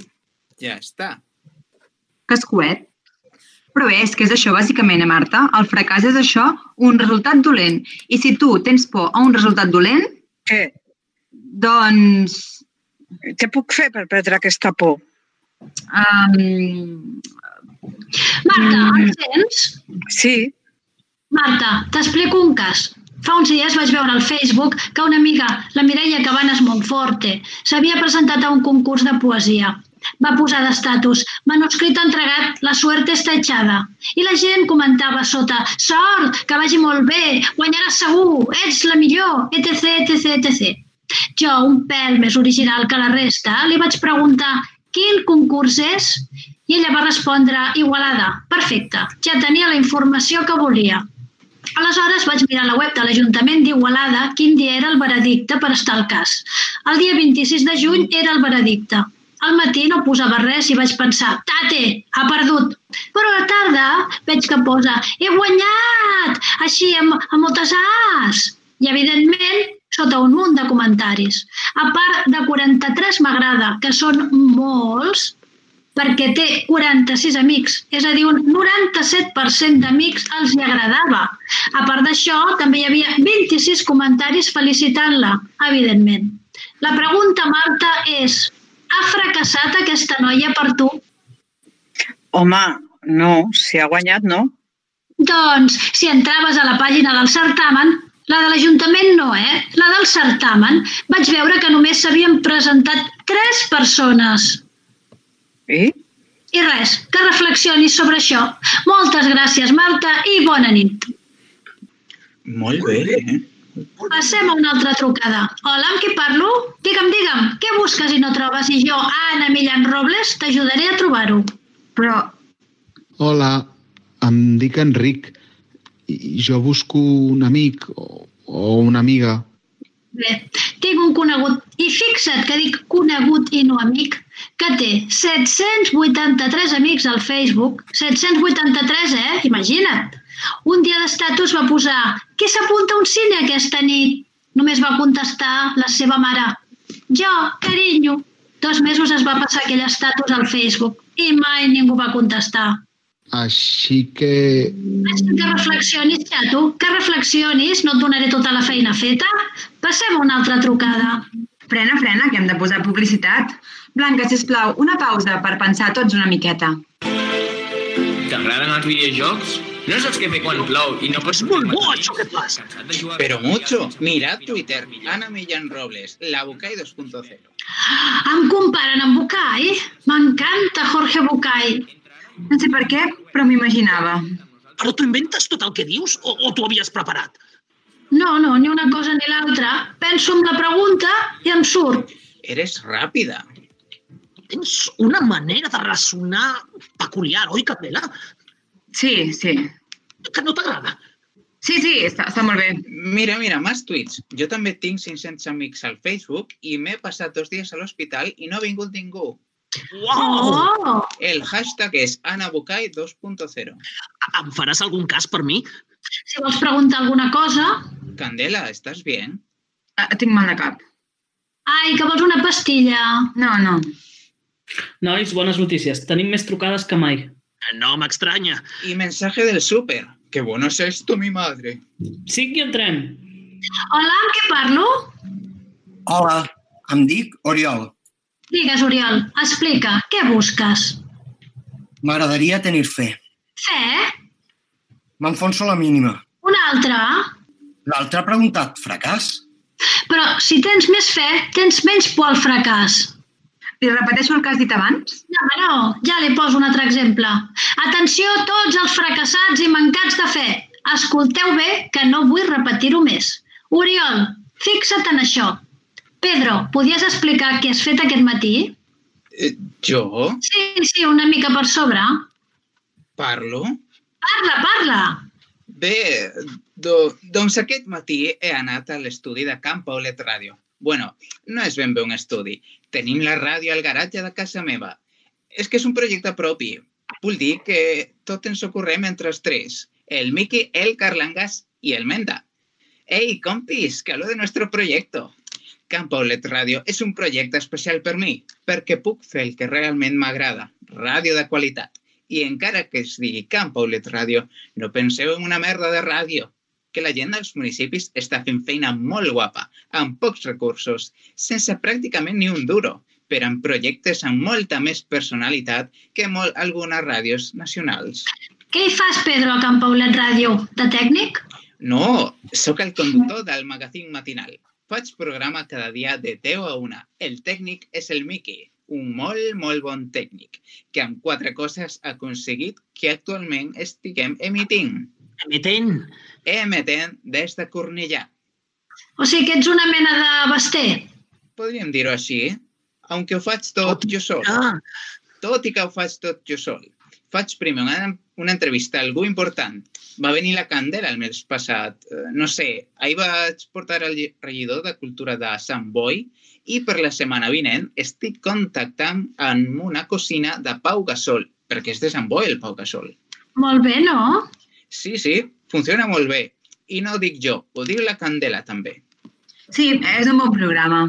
[SPEAKER 6] Ja està.
[SPEAKER 10] Cascuet. Però bé, és que és això, bàsicament, eh, Marta? El fracàs és això, un resultat dolent. I si tu tens por a un resultat dolent,
[SPEAKER 22] Què?
[SPEAKER 10] doncs...
[SPEAKER 22] Què puc fer per perdre aquesta por?
[SPEAKER 10] Um,
[SPEAKER 12] Marta, ens sents?
[SPEAKER 22] Sí,
[SPEAKER 12] Marta, t'explico un cas. Fa uns dies vaig veure al Facebook que una amiga, la Mireia Cabanes Monforte, s'havia presentat a un concurs de poesia. Va posar d'estatus, manuscrit entregat, la suerte està echada. I la gent comentava sota, sort, que vagi molt bé, guanyaràs segur, ets la millor, etc, etc, etc. Jo, un pèl més original que la resta, li vaig preguntar quin concurs és i ella va respondre, Igualada, perfecte, ja tenia la informació que volia. Aleshores vaig mirar la web de l'Ajuntament d'Igualada quin dia era el veredicte per estar al cas. El dia 26 de juny era el veredicte. Al matí no posava res i vaig pensar, tate, ha perdut. Però a la tarda veig que posa, he guanyat, així amb, amb moltes as. I evidentment sota un munt de comentaris. A part de 43 m'agrada, que són molts, perquè té 46 amics, és a dir, un 97% d'amics els hi agradava. A part d'això, també hi havia 26 comentaris felicitant-la, evidentment. La pregunta, Marta, és ha fracassat aquesta noia per tu?
[SPEAKER 22] home, no, si ha guanyat, no.
[SPEAKER 12] Doncs, si entraves a la pàgina del certamen, la de l'Ajuntament no, eh? La del certamen, vaig veure que només s'havien presentat tres persones.
[SPEAKER 22] I?
[SPEAKER 12] I res, que reflexionis sobre això. Moltes gràcies, Marta, i bona nit.
[SPEAKER 6] Molt bé, eh?
[SPEAKER 12] Passem a una altra trucada. Hola, amb qui parlo? Digue'm, digue'm, què busques i no trobes? I jo, Anna Millán Robles, t'ajudaré a trobar-ho.
[SPEAKER 10] Però,
[SPEAKER 4] Hola, em dic Enric. I Jo busco un amic o, o una amiga.
[SPEAKER 12] bé, tinc un conegut, i fixa't que dic conegut i no amic, que té 783 amics al Facebook, 783, eh? Imagina't. Un dia d'estatus va posar, què s'apunta a un cine aquesta nit? Només va contestar la seva mare. Jo, carinyo. Dos mesos es va passar aquell estatus al Facebook i mai ningú va contestar.
[SPEAKER 4] Així que...
[SPEAKER 12] Així que reflexionis, ja, tu, que reflexionis, no et donaré tota la feina feta. Passem a una altra trucada.
[SPEAKER 10] Frena, frena, que hem de posar publicitat. Blanca, si plau, una pausa per pensar tots una miqueta.
[SPEAKER 1] T'agraden els videojocs? No saps què fer quan plou i no pots... Molt bo, això que passa!
[SPEAKER 6] Pero mucho. Mirad Twitter. Ana Millán Robles, la Bucay 2.0.
[SPEAKER 12] Em comparen amb Bucay? M'encanta Jorge Bucay.
[SPEAKER 10] No sé per què, però m'imaginava.
[SPEAKER 5] Però tu inventes tot el que dius o, o t'ho havies preparat?
[SPEAKER 12] No, no, ni una cosa ni l'altra. Penso en la pregunta i em surt.
[SPEAKER 6] Eres ràpida.
[SPEAKER 5] Tens una manera de ressonar peculiar, oi, Capela?
[SPEAKER 10] Sí, sí.
[SPEAKER 5] Que no t'agrada?
[SPEAKER 10] Sí, sí, està, està molt bé.
[SPEAKER 6] Mira, mira, más tuits. Jo també tinc 500 amics al Facebook i m'he passat dos dies a l'hospital i no ha vingut ningú.
[SPEAKER 12] Oh!
[SPEAKER 6] El hashtag és AnaBucay 2.0.
[SPEAKER 5] Em faràs algun cas per mi?
[SPEAKER 12] Si vols preguntar alguna cosa...
[SPEAKER 6] Candela, ¿estás bien?
[SPEAKER 10] Ah, tinc mal de cap.
[SPEAKER 12] Ai, que vols una pastilla.
[SPEAKER 10] No, no.
[SPEAKER 21] Nois, bones notícies. Tenim més trucades que mai.
[SPEAKER 5] No m'estranya.
[SPEAKER 6] Y mensaje del súper. Qué bueno es esto, mi madre.
[SPEAKER 21] Sí, que entrem.
[SPEAKER 12] Hola, amb què parlo?
[SPEAKER 23] Hola, em dic Oriol.
[SPEAKER 12] Digues, Oriol, explica, què busques?
[SPEAKER 23] M'agradaria tenir fe.
[SPEAKER 12] Fe?
[SPEAKER 23] M'enfonso a la mínima.
[SPEAKER 12] Una altra?
[SPEAKER 23] L'altre ha preguntat, fracàs?
[SPEAKER 12] Però si tens més fe, tens menys por al fracàs.
[SPEAKER 10] Li repeteixo el que has dit abans?
[SPEAKER 12] No, no, ja li poso un altre exemple. Atenció a tots els fracassats i mancats de fe. Escolteu bé, que no vull repetir-ho més. Oriol, fixa't en això. Pedro, podies explicar què has fet aquest matí?
[SPEAKER 6] Eh, jo
[SPEAKER 12] Sí, sí, una mica per sobre.
[SPEAKER 6] parlo?
[SPEAKER 12] Parla, parla.
[SPEAKER 6] Bé, do, doncs aquest matí he anat a l'estudi de Camp Paulet Ràdio. Bueno, no és ben bé un estudi. Tenim la ràdio al garatge de casa meva. És que és un projecte propi. Vull dir que tot ens ho correm entre els tres. El Miki, el Carlangas i el Menda. Ei, compis, que hablo de nuestro proyecto. Camp Paulet Ràdio és un projecte especial per mi, perquè puc fer el que realment m'agrada, ràdio de qualitat. I encara que es digui Camp Paulet Ràdio, no penseu en una merda de ràdio, que la gent dels municipis està fent feina molt guapa, amb pocs recursos, sense pràcticament ni un duro, però amb projectes amb molta més personalitat que molt algunes ràdios nacionals.
[SPEAKER 12] Què hi fas, Pedro, a Can Paulet Ràdio? De tècnic?
[SPEAKER 6] No, sóc el conductor del magazín matinal. Faig programa cada dia de 10 a 1. El tècnic és el Miki, un molt, molt bon tècnic, que amb quatre coses ha aconseguit que actualment estiguem emitint.
[SPEAKER 5] Emetent?
[SPEAKER 6] Emetent des de Cornellà.
[SPEAKER 12] O sigui que ets una mena de baster.
[SPEAKER 6] Podríem dir-ho així, eh? aunque ho faig tot jo sol.
[SPEAKER 5] Ah,
[SPEAKER 6] Tot i que ho faig tot jo sol. Faig primer una, una entrevista a algú important. Va venir la Candela el mes passat. Eh, No sé, ahir vaig portar el lli- regidor de Cultura de Sant Boi i per la setmana vinent estic contactant amb una cosina de Pau Gasol, perquè és de Sant Boi el Pau Gasol.
[SPEAKER 12] Molt bé, no?
[SPEAKER 6] Sí, sí, funciona molt bé. I no ho dic jo, ho diu la Candela també.
[SPEAKER 10] Sí, és un bon programa.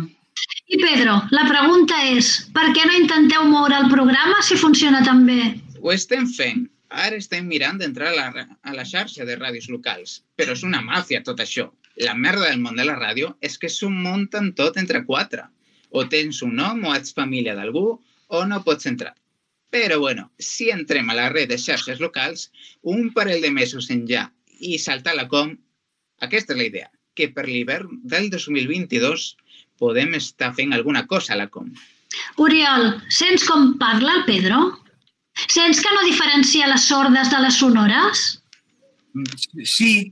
[SPEAKER 12] I Pedro, la pregunta és, per què no intenteu moure el programa si funciona tan bé?
[SPEAKER 6] Ho estem fent. Ara estem mirant d'entrar a, la, ra- a la xarxa de ràdios locals, però és una màfia tot això. La merda del món de la ràdio és que s'ho munten tot entre quatre. O tens un nom o ets família d'algú o no pots entrar. Però bueno, si entrem a la red de xarxes locals, un parell de mesos enllà i saltar la com, aquesta és la idea, que per l'hivern del 2022 podem estar fent alguna cosa a la com.
[SPEAKER 12] Oriol, sents com parla el Pedro? Sents que no diferencia les sordes de les sonores?
[SPEAKER 23] Sí,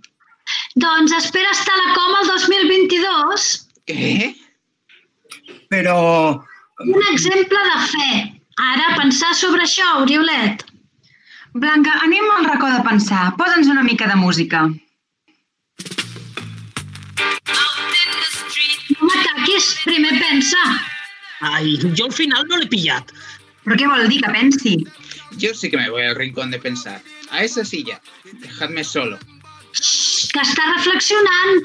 [SPEAKER 12] Doncs espera estar a la coma el 2022.
[SPEAKER 6] Què?
[SPEAKER 23] però...
[SPEAKER 12] Un exemple de fe. Ara, pensar sobre això, Oriolet.
[SPEAKER 10] Blanca, anem al racó de pensar. Posa'ns una mica de música.
[SPEAKER 12] No m'ataquis, primer pensa.
[SPEAKER 5] Ai, jo al final no l'he pillat.
[SPEAKER 10] Però què vol dir que pensi?
[SPEAKER 6] Yo sí que me voy al rincón de pensar. A esa silla. Dejadme solo.
[SPEAKER 12] Que està reflexionant.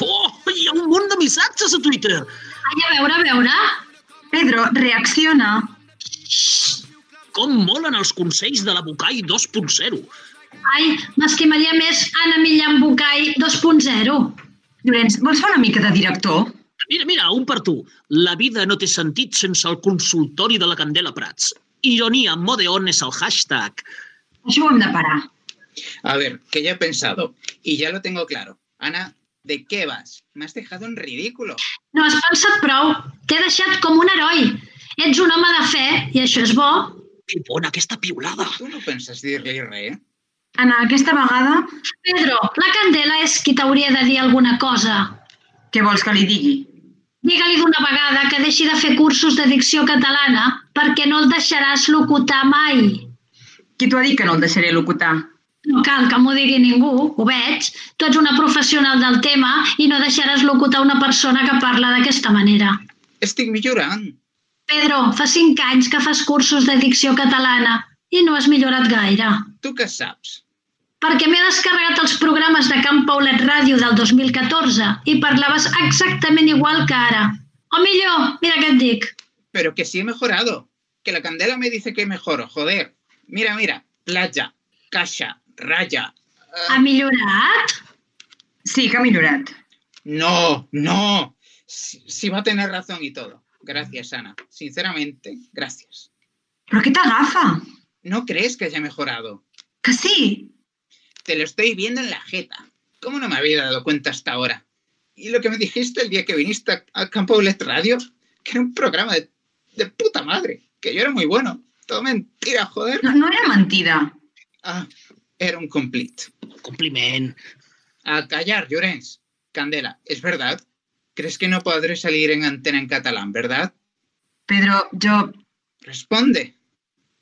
[SPEAKER 5] Oh, hi ha un munt de missatges a Twitter.
[SPEAKER 12] Ai, a veure, a veure.
[SPEAKER 10] Pedro, reacciona.
[SPEAKER 5] Com molen els consells de la Bucai 2.0?
[SPEAKER 12] Ai, m'estimaria més Anna Millán Bucay 2.0.
[SPEAKER 10] Llorenç, vols fer una mica de director?
[SPEAKER 5] Mira, mira, un per tu. La vida no té sentit sense el consultori de la Candela Prats. Ironia Modeon és el hashtag.
[SPEAKER 10] Això ho hem de parar.
[SPEAKER 6] A ver, que ya he pensado y ya lo tengo claro. Ana, ¿de qué vas? Me has dejado en ridículo.
[SPEAKER 12] No has pensat prou. T'he deixat com un heroi. Ets un home de fe i això és bo.
[SPEAKER 5] Que bona aquesta piulada.
[SPEAKER 6] Tú no penses dir-li res, eh?
[SPEAKER 10] Anna, aquesta vegada...
[SPEAKER 12] Pedro, la Candela és qui t'hauria de dir alguna cosa.
[SPEAKER 10] Què vols que li digui?
[SPEAKER 12] Digue-li d'una vegada que deixi de fer cursos de dicció catalana perquè no el deixaràs locutar mai.
[SPEAKER 10] Qui t'ho ha dit que no el deixaré locutar?
[SPEAKER 12] No cal que m'ho digui ningú, ho veig. Tu ets una professional del tema i no deixaràs locutar una persona que parla d'aquesta manera.
[SPEAKER 6] Estic millorant.
[SPEAKER 12] Pedro, fa cinc anys que fas cursos de dicció catalana i no has millorat gaire.
[SPEAKER 6] Tu què saps?
[SPEAKER 12] Perquè m'he descarregat els programes de Camp Paulet Ràdio del 2014 i parlaves exactament igual que ara. O millor, mira què et dic.
[SPEAKER 6] Pero que sí he mejorado. Que la candela me dice que mejoro, joder. Mira, mira, playa, caixa, raya.
[SPEAKER 12] Ha millorat?
[SPEAKER 10] Sí, que ha millorat.
[SPEAKER 6] No, no. Si, si va a tener razón y todo. Gracias, Ana. Sinceramente, gracias.
[SPEAKER 10] Però què t'agafa?
[SPEAKER 6] ¿No crees que haya mejorado?
[SPEAKER 10] Que sí.
[SPEAKER 6] Te lo estoy viendo en la jeta. ¿Cómo no me había dado cuenta hasta ahora? Y lo que me dijiste el día que viniste a- al Campo Bullet Radio, que era un programa de, de puta madre, que yo era muy bueno. Todo mentira, joder.
[SPEAKER 10] No, no era mentida.
[SPEAKER 6] Ah, era un complete.
[SPEAKER 5] Compliment.
[SPEAKER 6] A callar, Llorens. Candela, es verdad. ¿Crees que no podré salir en antena en catalán, verdad?
[SPEAKER 10] Pedro, jo...
[SPEAKER 6] Responde.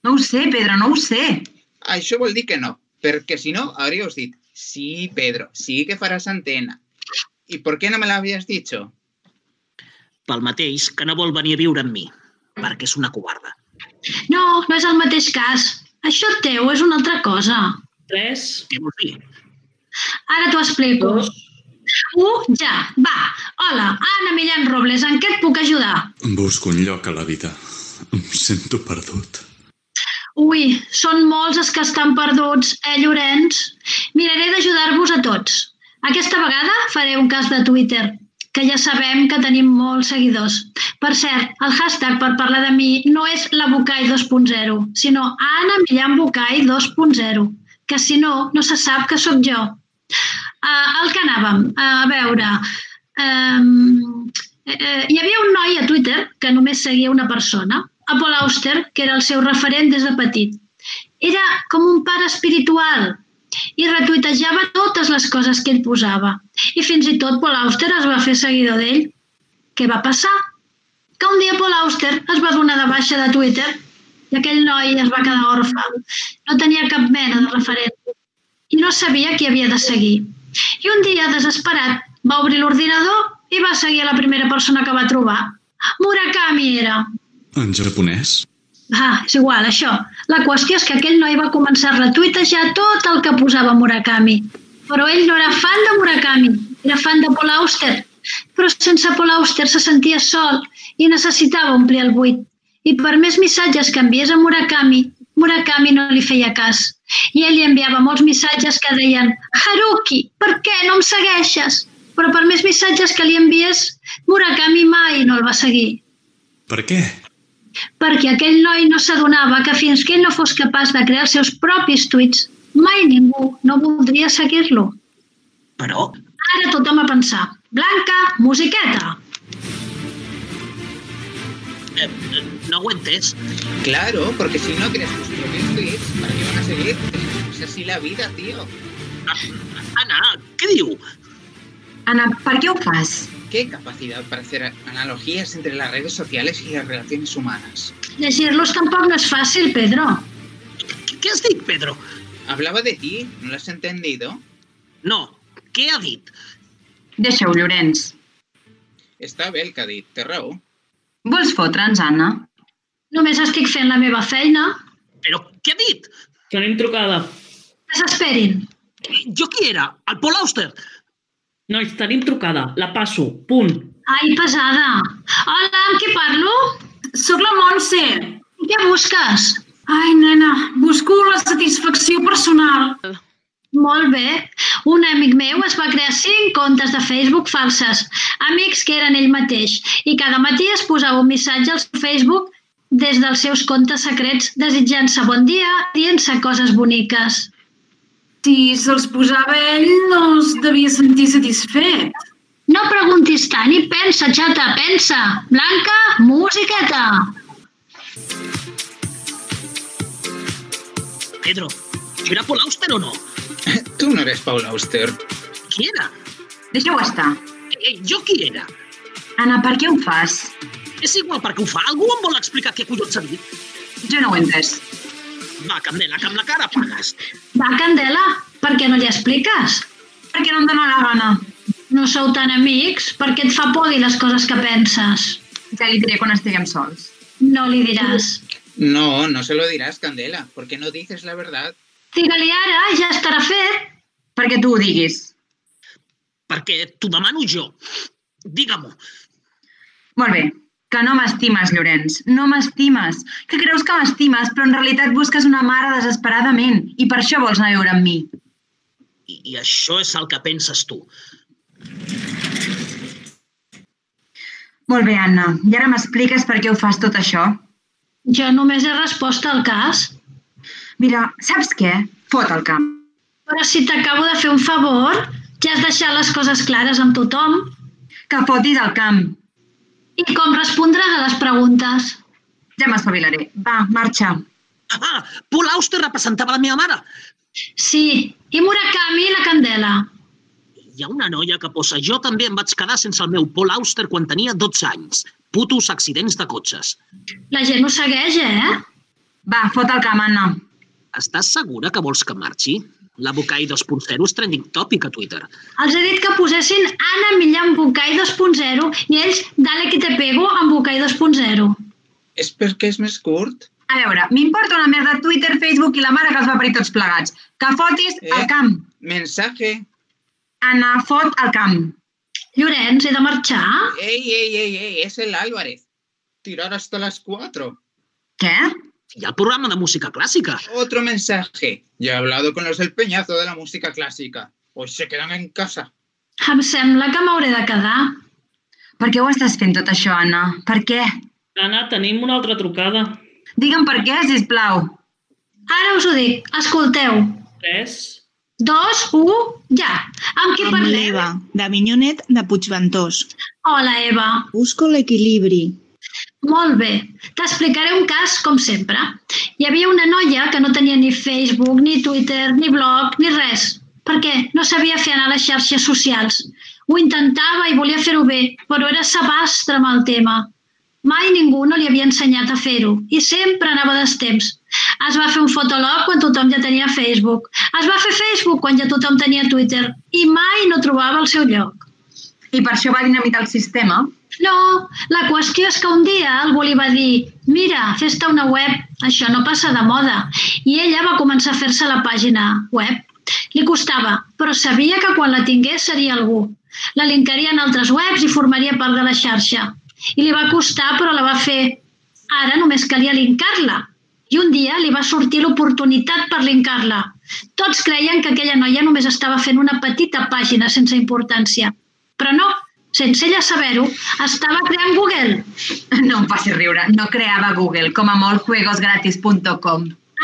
[SPEAKER 10] No ho sé, Pedro, no ho sé.
[SPEAKER 6] Això vol dir que no, perquè si no, hauríeu dit, sí, Pedro, sí que faràs antena. I per què no me l'havies dit?
[SPEAKER 5] Pel mateix que no vol venir a viure amb mi, perquè és una covarda.
[SPEAKER 12] No, no és el mateix cas. Això teu és una altra cosa.
[SPEAKER 21] Tres.
[SPEAKER 5] Què vols dir?
[SPEAKER 12] Ara t'ho explico.
[SPEAKER 21] Dos.
[SPEAKER 12] Un, ja, va. Hola, Anna Millán Robles, en què et puc ajudar?
[SPEAKER 24] Busco un lloc a la vida. Em sento perdut.
[SPEAKER 12] Ui, són molts els que estan perduts, eh, Llorenç? Miraré d'ajudar-vos a tots. Aquesta vegada faré un cas de Twitter, que ja sabem que tenim molts seguidors. Per cert, el hashtag per parlar de mi no és la Bucai 2.0, sinó Anna Millán Bucai 2.0, que si no, no se sap que sóc jo. Uh, el que anàvem, eh, a veure... Um, eh, hi havia un noi a Twitter que només seguia una persona, a Paul Auster, que era el seu referent des de petit. Era com un pare espiritual i retuitejava totes les coses que ell posava. I fins i tot Paul Auster es va fer seguidor d'ell. Què va passar? Que un dia Paul Auster es va donar de baixa de Twitter i aquell noi es va quedar orfe. No tenia cap mena de referent i no sabia qui havia de seguir. I un dia, desesperat, va obrir l'ordinador i va seguir la primera persona que va trobar. Murakami era.
[SPEAKER 24] En japonès?
[SPEAKER 12] Ah, és igual, això. La qüestió és que aquell noi va començar a retuitejar tot el que posava Murakami. Però ell no era fan de Murakami, era fan de Paul Auster. Però sense Paul Auster se sentia sol i necessitava omplir el buit. I per més missatges que enviés a Murakami, Murakami no li feia cas. I ell li enviava molts missatges que deien Haruki, per què no em segueixes? Però per més missatges que li envies, Murakami mai no el va seguir
[SPEAKER 24] Per què?
[SPEAKER 12] perquè aquell noi no s'adonava que fins que ell no fos capaç de crear els seus propis tuits, mai ningú no voldria seguir-lo.
[SPEAKER 5] Però
[SPEAKER 12] Ara tothom a pensar, Blanca, musiqueta.
[SPEAKER 5] eh, eh, no ho he entès.
[SPEAKER 6] Claro, porque si no crees tus propios tweets, ¿para qué van a seguir? Es así la vida, tío.
[SPEAKER 5] Ana, ¿qué digo?
[SPEAKER 10] Anna, per què ho fas?
[SPEAKER 6] Qué capacidad para hacer analogías entre las redes sociales y las relaciones humanas.
[SPEAKER 12] Llegir-los tampoc no és fàcil, Pedro.
[SPEAKER 5] Què has dit, Pedro?
[SPEAKER 6] Hablaba de ti, ¿no lo has entendido?
[SPEAKER 5] No, ¿qué ha dicho?
[SPEAKER 10] Deixa-ho, Llorenç.
[SPEAKER 6] Está bé el que ha dit, té raó.
[SPEAKER 10] Vols fotre'ns, Anna?
[SPEAKER 12] Només estic fent la meva feina.
[SPEAKER 5] Però què ha dit?
[SPEAKER 21] Tenim trucada.
[SPEAKER 12] Que s'esperin.
[SPEAKER 5] Jo qui era? El Paul Auster.
[SPEAKER 21] Nois, tenim trucada. La passo. Punt.
[SPEAKER 12] Ai, pesada. Hola, amb qui parlo? Sóc la Montse. Què busques? Ai, nena, busco la satisfacció personal. Molt bé. Un amic meu es va crear cinc comptes de Facebook falses, amics que eren ell mateix, i cada matí es posava un missatge al seu Facebook des dels seus comptes secrets, desitjant-se bon dia, dient-se coses boniques. Si se'ls posava ell, no es devia sentir satisfet. No preguntis tant i pensa, xata, pensa. Blanca, musiqueta.
[SPEAKER 5] Pedro, ¿yo era Paul Auster o no?
[SPEAKER 15] Tú no eres Paul Auster.
[SPEAKER 5] ¿Quién era?
[SPEAKER 10] Deixa-ho estar.
[SPEAKER 5] Eh, jo qui era?
[SPEAKER 10] Anna, per què ho fas?
[SPEAKER 5] És igual perquè ho fa. Algú em vol explicar què collons ha dit?
[SPEAKER 10] Jo no ho he entès.
[SPEAKER 5] Va, Candela, que amb la cara pagues.
[SPEAKER 12] Va, Candela, per què no li expliques?
[SPEAKER 10] Perquè no em dóna la gana.
[SPEAKER 12] No sou tan amics, perquè et fa por dir les coses que penses.
[SPEAKER 10] Ja li diré quan estiguem sols.
[SPEAKER 12] No li diràs.
[SPEAKER 15] No, no se lo dirás, Candela, porque no dices la verdad.
[SPEAKER 12] Digue-li ara, ja estarà fet.
[SPEAKER 10] Perquè tu ho diguis.
[SPEAKER 5] Perquè t'ho demano jo. Digue-m'ho.
[SPEAKER 10] Molt bé, que no m'estimes, Llorenç, no m'estimes. Que creus que m'estimes, però en realitat busques una mare desesperadament i per això vols anar a viure amb mi.
[SPEAKER 5] I, I això és el que penses tu.
[SPEAKER 10] Molt bé, Anna, i ara m'expliques per què ho fas tot això?
[SPEAKER 12] Jo només he respost al cas.
[SPEAKER 10] Mira, saps què? Fot el camp.
[SPEAKER 12] Però si t'acabo de fer un favor, ja has deixat les coses clares amb tothom.
[SPEAKER 10] Que fotis el camp.
[SPEAKER 12] I com respondràs a les preguntes?
[SPEAKER 10] Ja m'espavilaré. Va, marxa.
[SPEAKER 5] Ah, Paul Auster representava la meva mare.
[SPEAKER 12] Sí, i Murakami i la Candela.
[SPEAKER 5] Hi ha una noia que posa jo també em vaig quedar sense el meu Paul Auster quan tenia 12 anys. Putos accidents de cotxes.
[SPEAKER 12] La gent ho segueix, eh?
[SPEAKER 10] Va, fot el camp, Anna.
[SPEAKER 5] Estàs segura que vols que marxi? La Bucai 2.0 és trending topic a Twitter.
[SPEAKER 12] Els he dit que posessin Anna Millà amb Bucai 2.0 i ells Dale que te pego amb Bucai 2.0.
[SPEAKER 15] És perquè és més curt?
[SPEAKER 10] A veure, m'importa una merda Twitter, Facebook i la mare que els va parir tots plegats. Que fotis eh? el camp.
[SPEAKER 15] Mensaje.
[SPEAKER 10] Anna, fot el camp.
[SPEAKER 12] Llorenç, he de marxar?
[SPEAKER 15] Ey, ey, ey, ey, es el Álvarez. Tirar hasta las 4.
[SPEAKER 10] Què?
[SPEAKER 5] Hi ha el programa de música clàssica.
[SPEAKER 15] Otro mensaje. Ya he hablado con los del peñazo de la música clásica. Hoy se quedan en casa.
[SPEAKER 12] Em sembla que m'hauré de quedar.
[SPEAKER 10] Per què ho estàs fent tot això, Anna? Per què?
[SPEAKER 21] Anna, tenim una altra trucada.
[SPEAKER 10] Digue'm per què, sisplau.
[SPEAKER 12] Ara us ho dic. Escolteu.
[SPEAKER 21] 3.
[SPEAKER 12] Dos, un, ja. Amb qui
[SPEAKER 3] Amb
[SPEAKER 12] parlem?
[SPEAKER 3] l'Eva, de Minyonet de Puigventós.
[SPEAKER 12] Hola, Eva.
[SPEAKER 3] Busco l'equilibri.
[SPEAKER 12] Molt bé. T'explicaré un cas, com sempre. Hi havia una noia que no tenia ni Facebook, ni Twitter, ni blog, ni res. Per què? No sabia fer anar a les xarxes socials. Ho intentava i volia fer-ho bé, però era sabastre amb el tema. Mai ningú no li havia ensenyat a fer-ho i sempre anava d'estemps. Es va fer un fotolog quan tothom ja tenia Facebook. Es va fer Facebook quan ja tothom tenia Twitter i mai no trobava el seu lloc.
[SPEAKER 10] I per això va dinamitar el sistema?
[SPEAKER 12] No, la qüestió és que un dia algú li va dir mira, fes-te una web, això no passa de moda. I ella va començar a fer-se la pàgina web. Li costava, però sabia que quan la tingués seria algú. La linkaria en altres webs i formaria part de la xarxa. I li va costar, però la va fer. Ara només calia linkar-la. I un dia li va sortir l'oportunitat per linkar-la. Tots creien que aquella noia només estava fent una petita pàgina sense importància. Però no, sense ella saber-ho, estava creant Google.
[SPEAKER 10] No em facis riure, no creava Google, com a molt juegosgratis.com.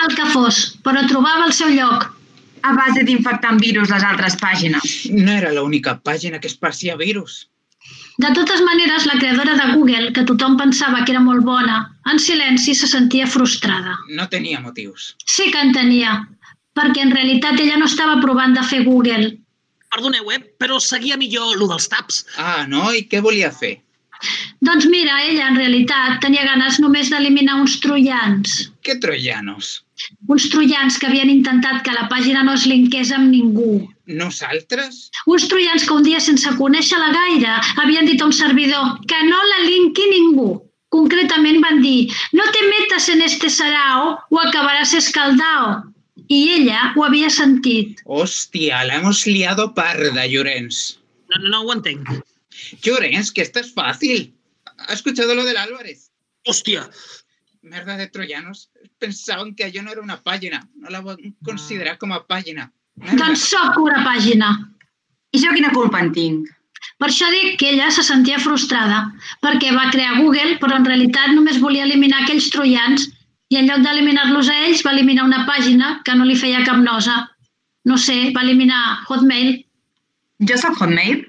[SPEAKER 12] El que fos, però trobava el seu lloc.
[SPEAKER 10] A base d'infectar amb virus les altres pàgines.
[SPEAKER 15] No era la única página que esparcia virus.
[SPEAKER 12] De totes maneres, la creadora de Google, que tothom pensava que era molt bona, en silenci se sentia frustrada.
[SPEAKER 15] No tenia motius.
[SPEAKER 12] Sí que en tenia, perquè en realitat ella no estava provant de fer Google.
[SPEAKER 5] Perdoneu, eh, però seguia millor lo dels taps.
[SPEAKER 15] Ah, no? I què volia fer?
[SPEAKER 12] Doncs mira, ella en realitat tenia ganes només d'eliminar uns troians.
[SPEAKER 15] ¿Qué troyanos?
[SPEAKER 12] Uns troians que havien intentat que la pàgina no es linkés amb ningú.
[SPEAKER 15] Nosaltres?
[SPEAKER 12] Uns troians que un dia, sense conèixer-la gaire, havien dit a un servidor que no la linki ningú. Concretament van dir, no te metas en este sarao o acabaràs escaldao. I ella ho havia sentit.
[SPEAKER 15] Hostia, la hemos liado parda, Llorenç.
[SPEAKER 5] No, no, no ho entenc.
[SPEAKER 6] Llorens, que esto es fácil. ¿Ha escuchado lo del Álvarez?
[SPEAKER 5] ¡Hostia!
[SPEAKER 6] Merda de troyanos. Pensaban que yo no era una página. No la van considerar com a pàgina.
[SPEAKER 12] Doncs sóc una pàgina. I jo quina culpa en tinc? Per això dic que ella se sentia frustrada, perquè va crear Google, però en realitat només volia eliminar aquells troians i en lloc d'eliminar-los a ells va eliminar una pàgina que no li feia cap nosa. No sé, va eliminar Hotmail.
[SPEAKER 10] Jo sóc Hotmail?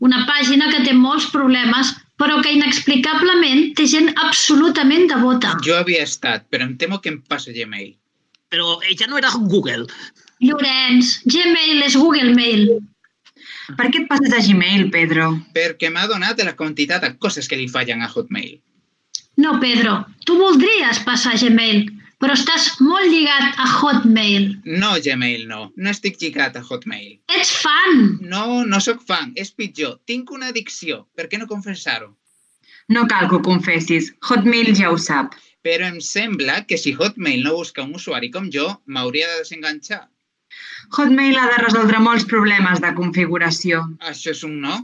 [SPEAKER 12] Una pàgina que té molts problemes, però que inexplicablement té gent absolutament devota.
[SPEAKER 6] Jo havia estat, però em temo que em passo Gmail.
[SPEAKER 5] Però ella no era Google.
[SPEAKER 12] Llorenç, Gmail és Google Mail.
[SPEAKER 10] Per què et passes a Gmail, Pedro?
[SPEAKER 6] Perquè m'ha donat la quantitat de coses que li fallen a Hotmail.
[SPEAKER 12] No, Pedro, tu voldries passar a Gmail, però estàs molt lligat a Hotmail.
[SPEAKER 6] No, Gmail, no. No estic lligat a Hotmail.
[SPEAKER 12] Ets fan!
[SPEAKER 6] No, no sóc fan, és pitjor. Tinc una addicció. Per què no confessar-ho?
[SPEAKER 10] No cal que ho confessis. Hotmail ja ho sap.
[SPEAKER 6] Però em sembla que si Hotmail no busca un usuari com jo, m'hauria de desenganxar.
[SPEAKER 10] Hotmail ha de resoldre molts problemes de configuració.
[SPEAKER 6] Això és un no?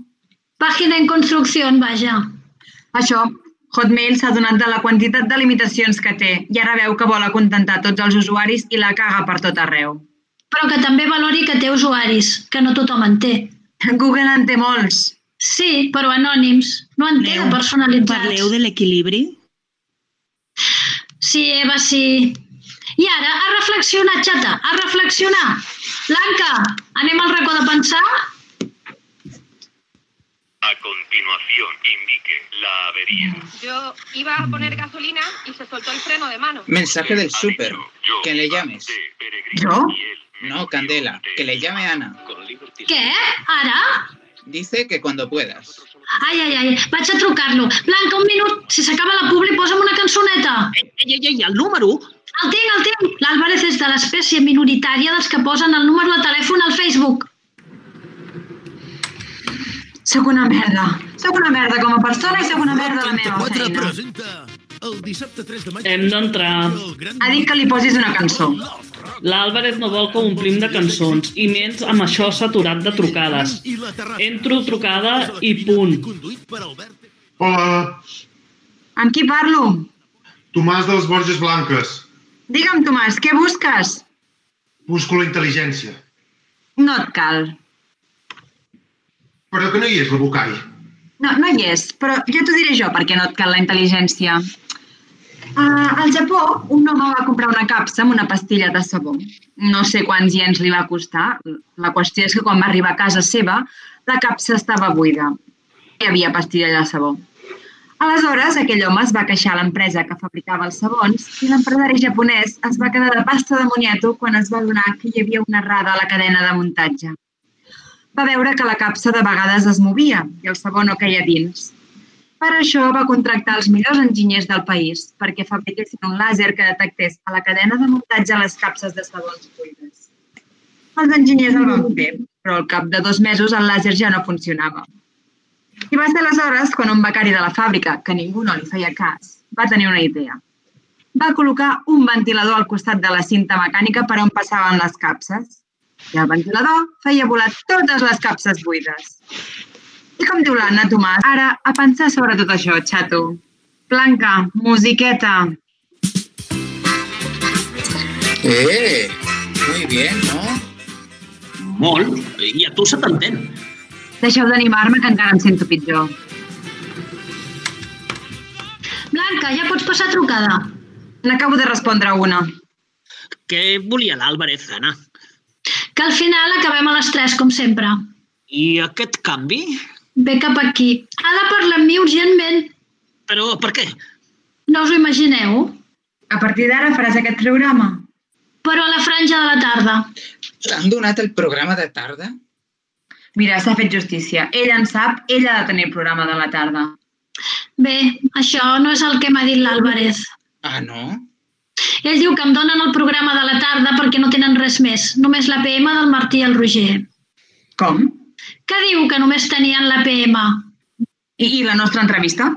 [SPEAKER 12] Pàgina en construcció, vaja.
[SPEAKER 10] Això, Hotmail s'ha donat de la quantitat de limitacions que té i ara veu que vol acontentar tots els usuaris i la caga per tot arreu.
[SPEAKER 12] Però que també valori que té usuaris, que no tothom en té.
[SPEAKER 10] Google en té molts.
[SPEAKER 12] Sí, però anònims. No en té de personalitzats.
[SPEAKER 3] Parleu de l'equilibri?
[SPEAKER 12] Sí, Eva, sí. I ara, a reflexionar, xata, a reflexionar. Blanca, anem al racó de pensar?
[SPEAKER 25] A continuación, indique la avería.
[SPEAKER 26] Yo iba a poner gasolina y se soltó el freno de mano.
[SPEAKER 6] Mensaje del súper. Que le llames.
[SPEAKER 10] ¿Yo?
[SPEAKER 6] No, Candela. Que le llame Ana.
[SPEAKER 12] Què? Ara?
[SPEAKER 6] Dice que cuando puedas.
[SPEAKER 12] Ai, ai, ai, vaig a trucar-lo. Blanca, un minut, si s'acaba la publi, posa'm una cançoneta.
[SPEAKER 5] Ei, ei, ei, el número?
[SPEAKER 12] El tinc, el tinc. L'Àlvarez és de l'espècie minoritària dels que posen el número de telèfon al Facebook.
[SPEAKER 10] Sóc una merda. Sóc una merda com a persona i sóc una merda a la meva feina.
[SPEAKER 27] presenta el dissabte 3 de maig...
[SPEAKER 21] Hem d'entrar.
[SPEAKER 10] Ha dit que li posis una cançó.
[SPEAKER 21] L'Àlvarez no vol que omplim de cançons, i menys amb això saturat de trucades. Entro trucada i punt.
[SPEAKER 28] Hola,
[SPEAKER 10] Amb qui parlo?
[SPEAKER 28] Tomàs de les Borges Blanques.
[SPEAKER 10] Digue'm, Tomàs, què busques?
[SPEAKER 28] Busco la intel·ligència.
[SPEAKER 10] No et cal.
[SPEAKER 28] Però que no hi és la Bocai.
[SPEAKER 10] No, no hi és, però ja t'ho diré jo perquè no et cal la intel·ligència. Uh, al Japó, un home va comprar una capsa amb una pastilla de sabó. No sé quants iens li va costar. La qüestió és que quan va arribar a casa seva, la capsa estava buida. Hi havia pastilla de sabó. Aleshores, aquell home es va queixar a l'empresa que fabricava els sabons i l'empresari japonès es va quedar de pasta de moniato quan es va adonar que hi havia una errada a la cadena de muntatge. Va veure que la capsa de vegades es movia i el sabó no queia dins. Per això va contractar els millors enginyers del país perquè fabriquessin un làser que detectés a la cadena de muntatge les capses de sabons buides. Els enginyers el van fer, però al cap de dos mesos el làser ja no funcionava. I va ser aleshores quan un becari de la fàbrica, que ningú no li feia cas, va tenir una idea. Va col·locar un ventilador al costat de la cinta mecànica per on passaven les capses. I el ventilador feia volar totes les capses buides. I com diu l'Anna Tomàs, ara a pensar sobre tot això, xato. Blanca, musiqueta.
[SPEAKER 6] Eh, muy bien, ¿no?
[SPEAKER 5] Molt. I a tu se t'entén.
[SPEAKER 10] Deixeu d'animar-me que encara em sento pitjor.
[SPEAKER 12] Blanca, ja pots passar trucada.
[SPEAKER 10] N'acabo de respondre una.
[SPEAKER 5] Què volia l'Àlvarez, Anna?
[SPEAKER 12] Que al final acabem a les 3, com sempre.
[SPEAKER 5] I aquest canvi?
[SPEAKER 12] Ve cap aquí. Ha de parlar amb mi urgentment.
[SPEAKER 5] Però per què?
[SPEAKER 12] No us ho imagineu?
[SPEAKER 10] A partir d'ara faràs aquest programa.
[SPEAKER 12] Però a la franja de la tarda.
[SPEAKER 6] T'han donat el programa de tarda?
[SPEAKER 10] Mira, s'ha fet justícia. Ella en sap, ella ha de tenir el programa de la tarda.
[SPEAKER 12] Bé, això no és el que m'ha dit l'Àlvarez.
[SPEAKER 6] Ah, no?
[SPEAKER 12] Ell diu que em donen el programa de la tarda perquè no tenen res més, només la PM del Martí i el Roger.
[SPEAKER 10] Com?
[SPEAKER 12] Que diu que només tenien la PM.
[SPEAKER 10] I, i la nostra entrevista?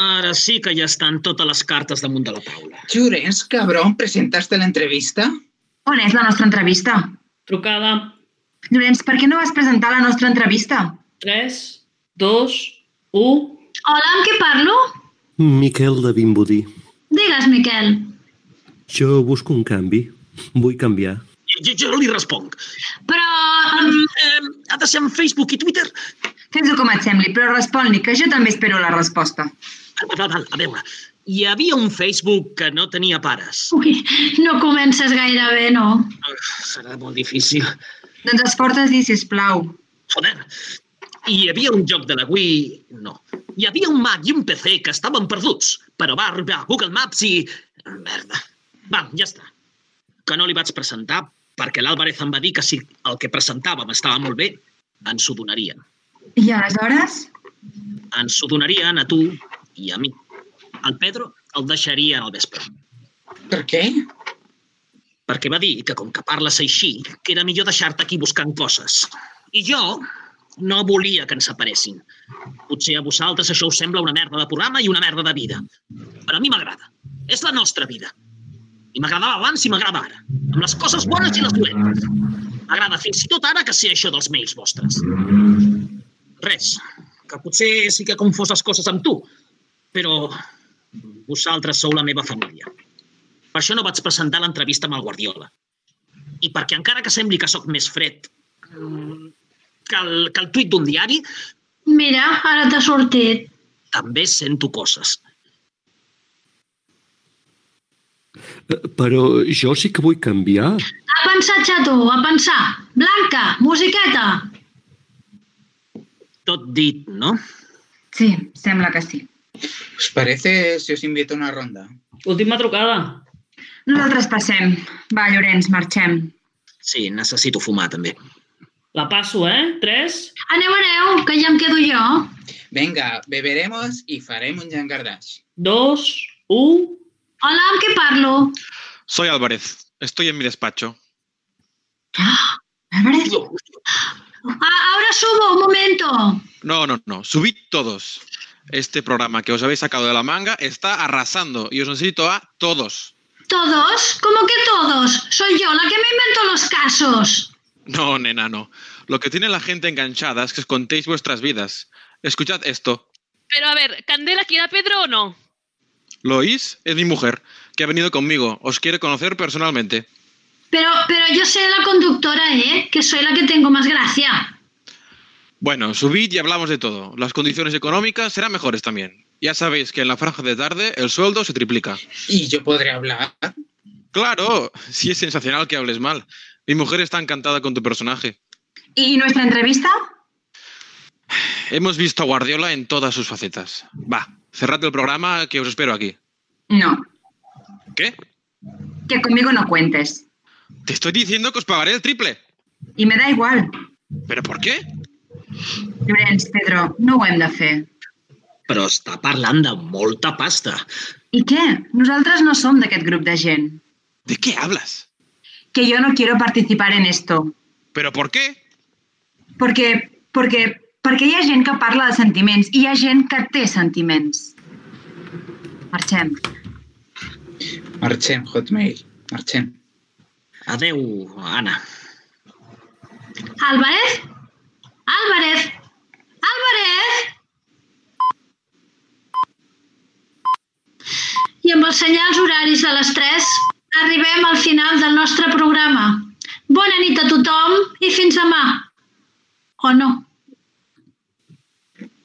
[SPEAKER 5] Ara sí que ja estan totes les cartes damunt de la taula.
[SPEAKER 6] Llorenç, cabrón, presentaste l'entrevista?
[SPEAKER 10] On és la nostra entrevista?
[SPEAKER 21] Trucada
[SPEAKER 10] Llorenç, per què no vas presentar la nostra entrevista?
[SPEAKER 21] 3,
[SPEAKER 2] 2, 1...
[SPEAKER 10] Hola, amb qui parlo?
[SPEAKER 29] Miquel de Vimbodí.
[SPEAKER 10] Digues, Miquel.
[SPEAKER 29] Jo busco un canvi. Vull canviar.
[SPEAKER 5] Jo, jo li responc.
[SPEAKER 10] Però...
[SPEAKER 5] Um, um, ha de ser en Facebook i Twitter.
[SPEAKER 30] Fes-ho com et sembli, però respon-li, que jo també espero la resposta.
[SPEAKER 5] Val, val, val, a veure. Hi havia un Facebook que no tenia pares. Ah,
[SPEAKER 10] Ui, no comences gaire bé, no.
[SPEAKER 5] Serà molt difícil.
[SPEAKER 30] Doncs esforces-hi, sisplau.
[SPEAKER 5] Joder, hi havia un joc de la Wii... No. Hi havia un Mac i un PC que estaven perduts, però va arribar a Google Maps i... Merda. Va, ja està. Que no li vaig presentar perquè l'Àlvarez em va dir que si el que presentàvem estava molt bé, ens ho donarien.
[SPEAKER 30] I aleshores?
[SPEAKER 5] Ens ho donarien a tu i a mi. El Pedro el deixarien al vespre.
[SPEAKER 31] Per què?
[SPEAKER 5] Perquè va dir que com que parles així, que era millor deixar-te aquí buscant coses. I jo, no volia que ens separessin. Potser a vosaltres això us sembla una merda de programa i una merda de vida. Però a mi m'agrada. És la nostra vida. I m'agradava abans i m'agrada ara. Amb les coses bones i les dolentes. M'agrada fins i tot ara que sé això dels mails vostres. Res. Que potser sí que confós les coses amb tu. Però vosaltres sou la meva família. Per això no vaig presentar l'entrevista amb el Guardiola. I perquè encara que sembli que sóc més fred, que el, que el tuit d'un diari...
[SPEAKER 10] Mira, ara t'ha sortit.
[SPEAKER 5] També sento coses.
[SPEAKER 29] Eh, Però jo sí que vull canviar.
[SPEAKER 10] A pensar, xato, a pensar. Blanca, musiqueta.
[SPEAKER 5] Tot dit, no?
[SPEAKER 30] Sí, sembla que sí.
[SPEAKER 6] ¿Os Pues parece si os invito a una ronda?
[SPEAKER 2] Última trucada.
[SPEAKER 30] Nosaltres passem. Va, Llorenç, marxem.
[SPEAKER 5] Sí, necessito fumar, també.
[SPEAKER 2] La passo, eh? 3.
[SPEAKER 10] Aneu, aneu, que ja em quedo jo.
[SPEAKER 6] Venga, beberemos y faremos un jangardash.
[SPEAKER 2] 2, 1...
[SPEAKER 10] Hola, amb qui parlo?
[SPEAKER 12] Soy Álvarez. Estoy en mi despacho.
[SPEAKER 10] Ah, Álvarez. Ah, ahora subo, un momento.
[SPEAKER 12] No, no, no. Subid todos. Este programa que os habéis sacado de la manga está arrasando y os necesito a todos.
[SPEAKER 10] ¿Todos? ¿Cómo que todos? Soy yo la que me invento los casos.
[SPEAKER 12] No, nena, no. Lo que tiene la gente enganchada es que os contéis vuestras vidas. Escuchad esto.
[SPEAKER 32] Pero a ver, ¿Candela quiere a Pedro o no?
[SPEAKER 12] Lois es mi mujer, que ha venido conmigo. Os quiere conocer personalmente.
[SPEAKER 10] Pero, pero yo soy la conductora, ¿eh? Que soy la que tengo más gracia.
[SPEAKER 12] Bueno, subid y hablamos de todo. Las condiciones económicas serán mejores también. Ya sabéis que en la franja de tarde el sueldo se triplica.
[SPEAKER 6] ¿Y yo podré hablar?
[SPEAKER 12] Claro, sí es sensacional que hables mal. Mi mujer está encantada con tu personaje.
[SPEAKER 30] ¿Y nuestra entrevista?
[SPEAKER 12] Hemos visto a Guardiola en todas sus facetas. Va, cerrad el programa que os espero aquí.
[SPEAKER 30] No.
[SPEAKER 12] ¿Qué?
[SPEAKER 30] Que conmigo no cuentes.
[SPEAKER 12] Te estoy diciendo que os pagaré el triple.
[SPEAKER 30] I me da igual.
[SPEAKER 12] ¿Pero por qué?
[SPEAKER 30] Llorenç, Pedro, no ho hem de fer.
[SPEAKER 5] Però està parlant de molta pasta.
[SPEAKER 30] I què? Nosaltres no som d'aquest grup de gent.
[SPEAKER 12] ¿De qué hablas?
[SPEAKER 30] que yo no quiero participar en esto.
[SPEAKER 12] ¿Pero por qué?
[SPEAKER 30] Perquè, perquè, perquè hi ha gent que parla de sentiments i hi ha gent que té sentiments. Marxem.
[SPEAKER 6] Marxem, Hotmail. Marxem.
[SPEAKER 5] Adeu, Anna.
[SPEAKER 10] Álvarez? Álvarez? Álvarez? I amb els senyals horaris de les 3 arribem al final del nostre programa. Bona nit a tothom i fins demà. O no.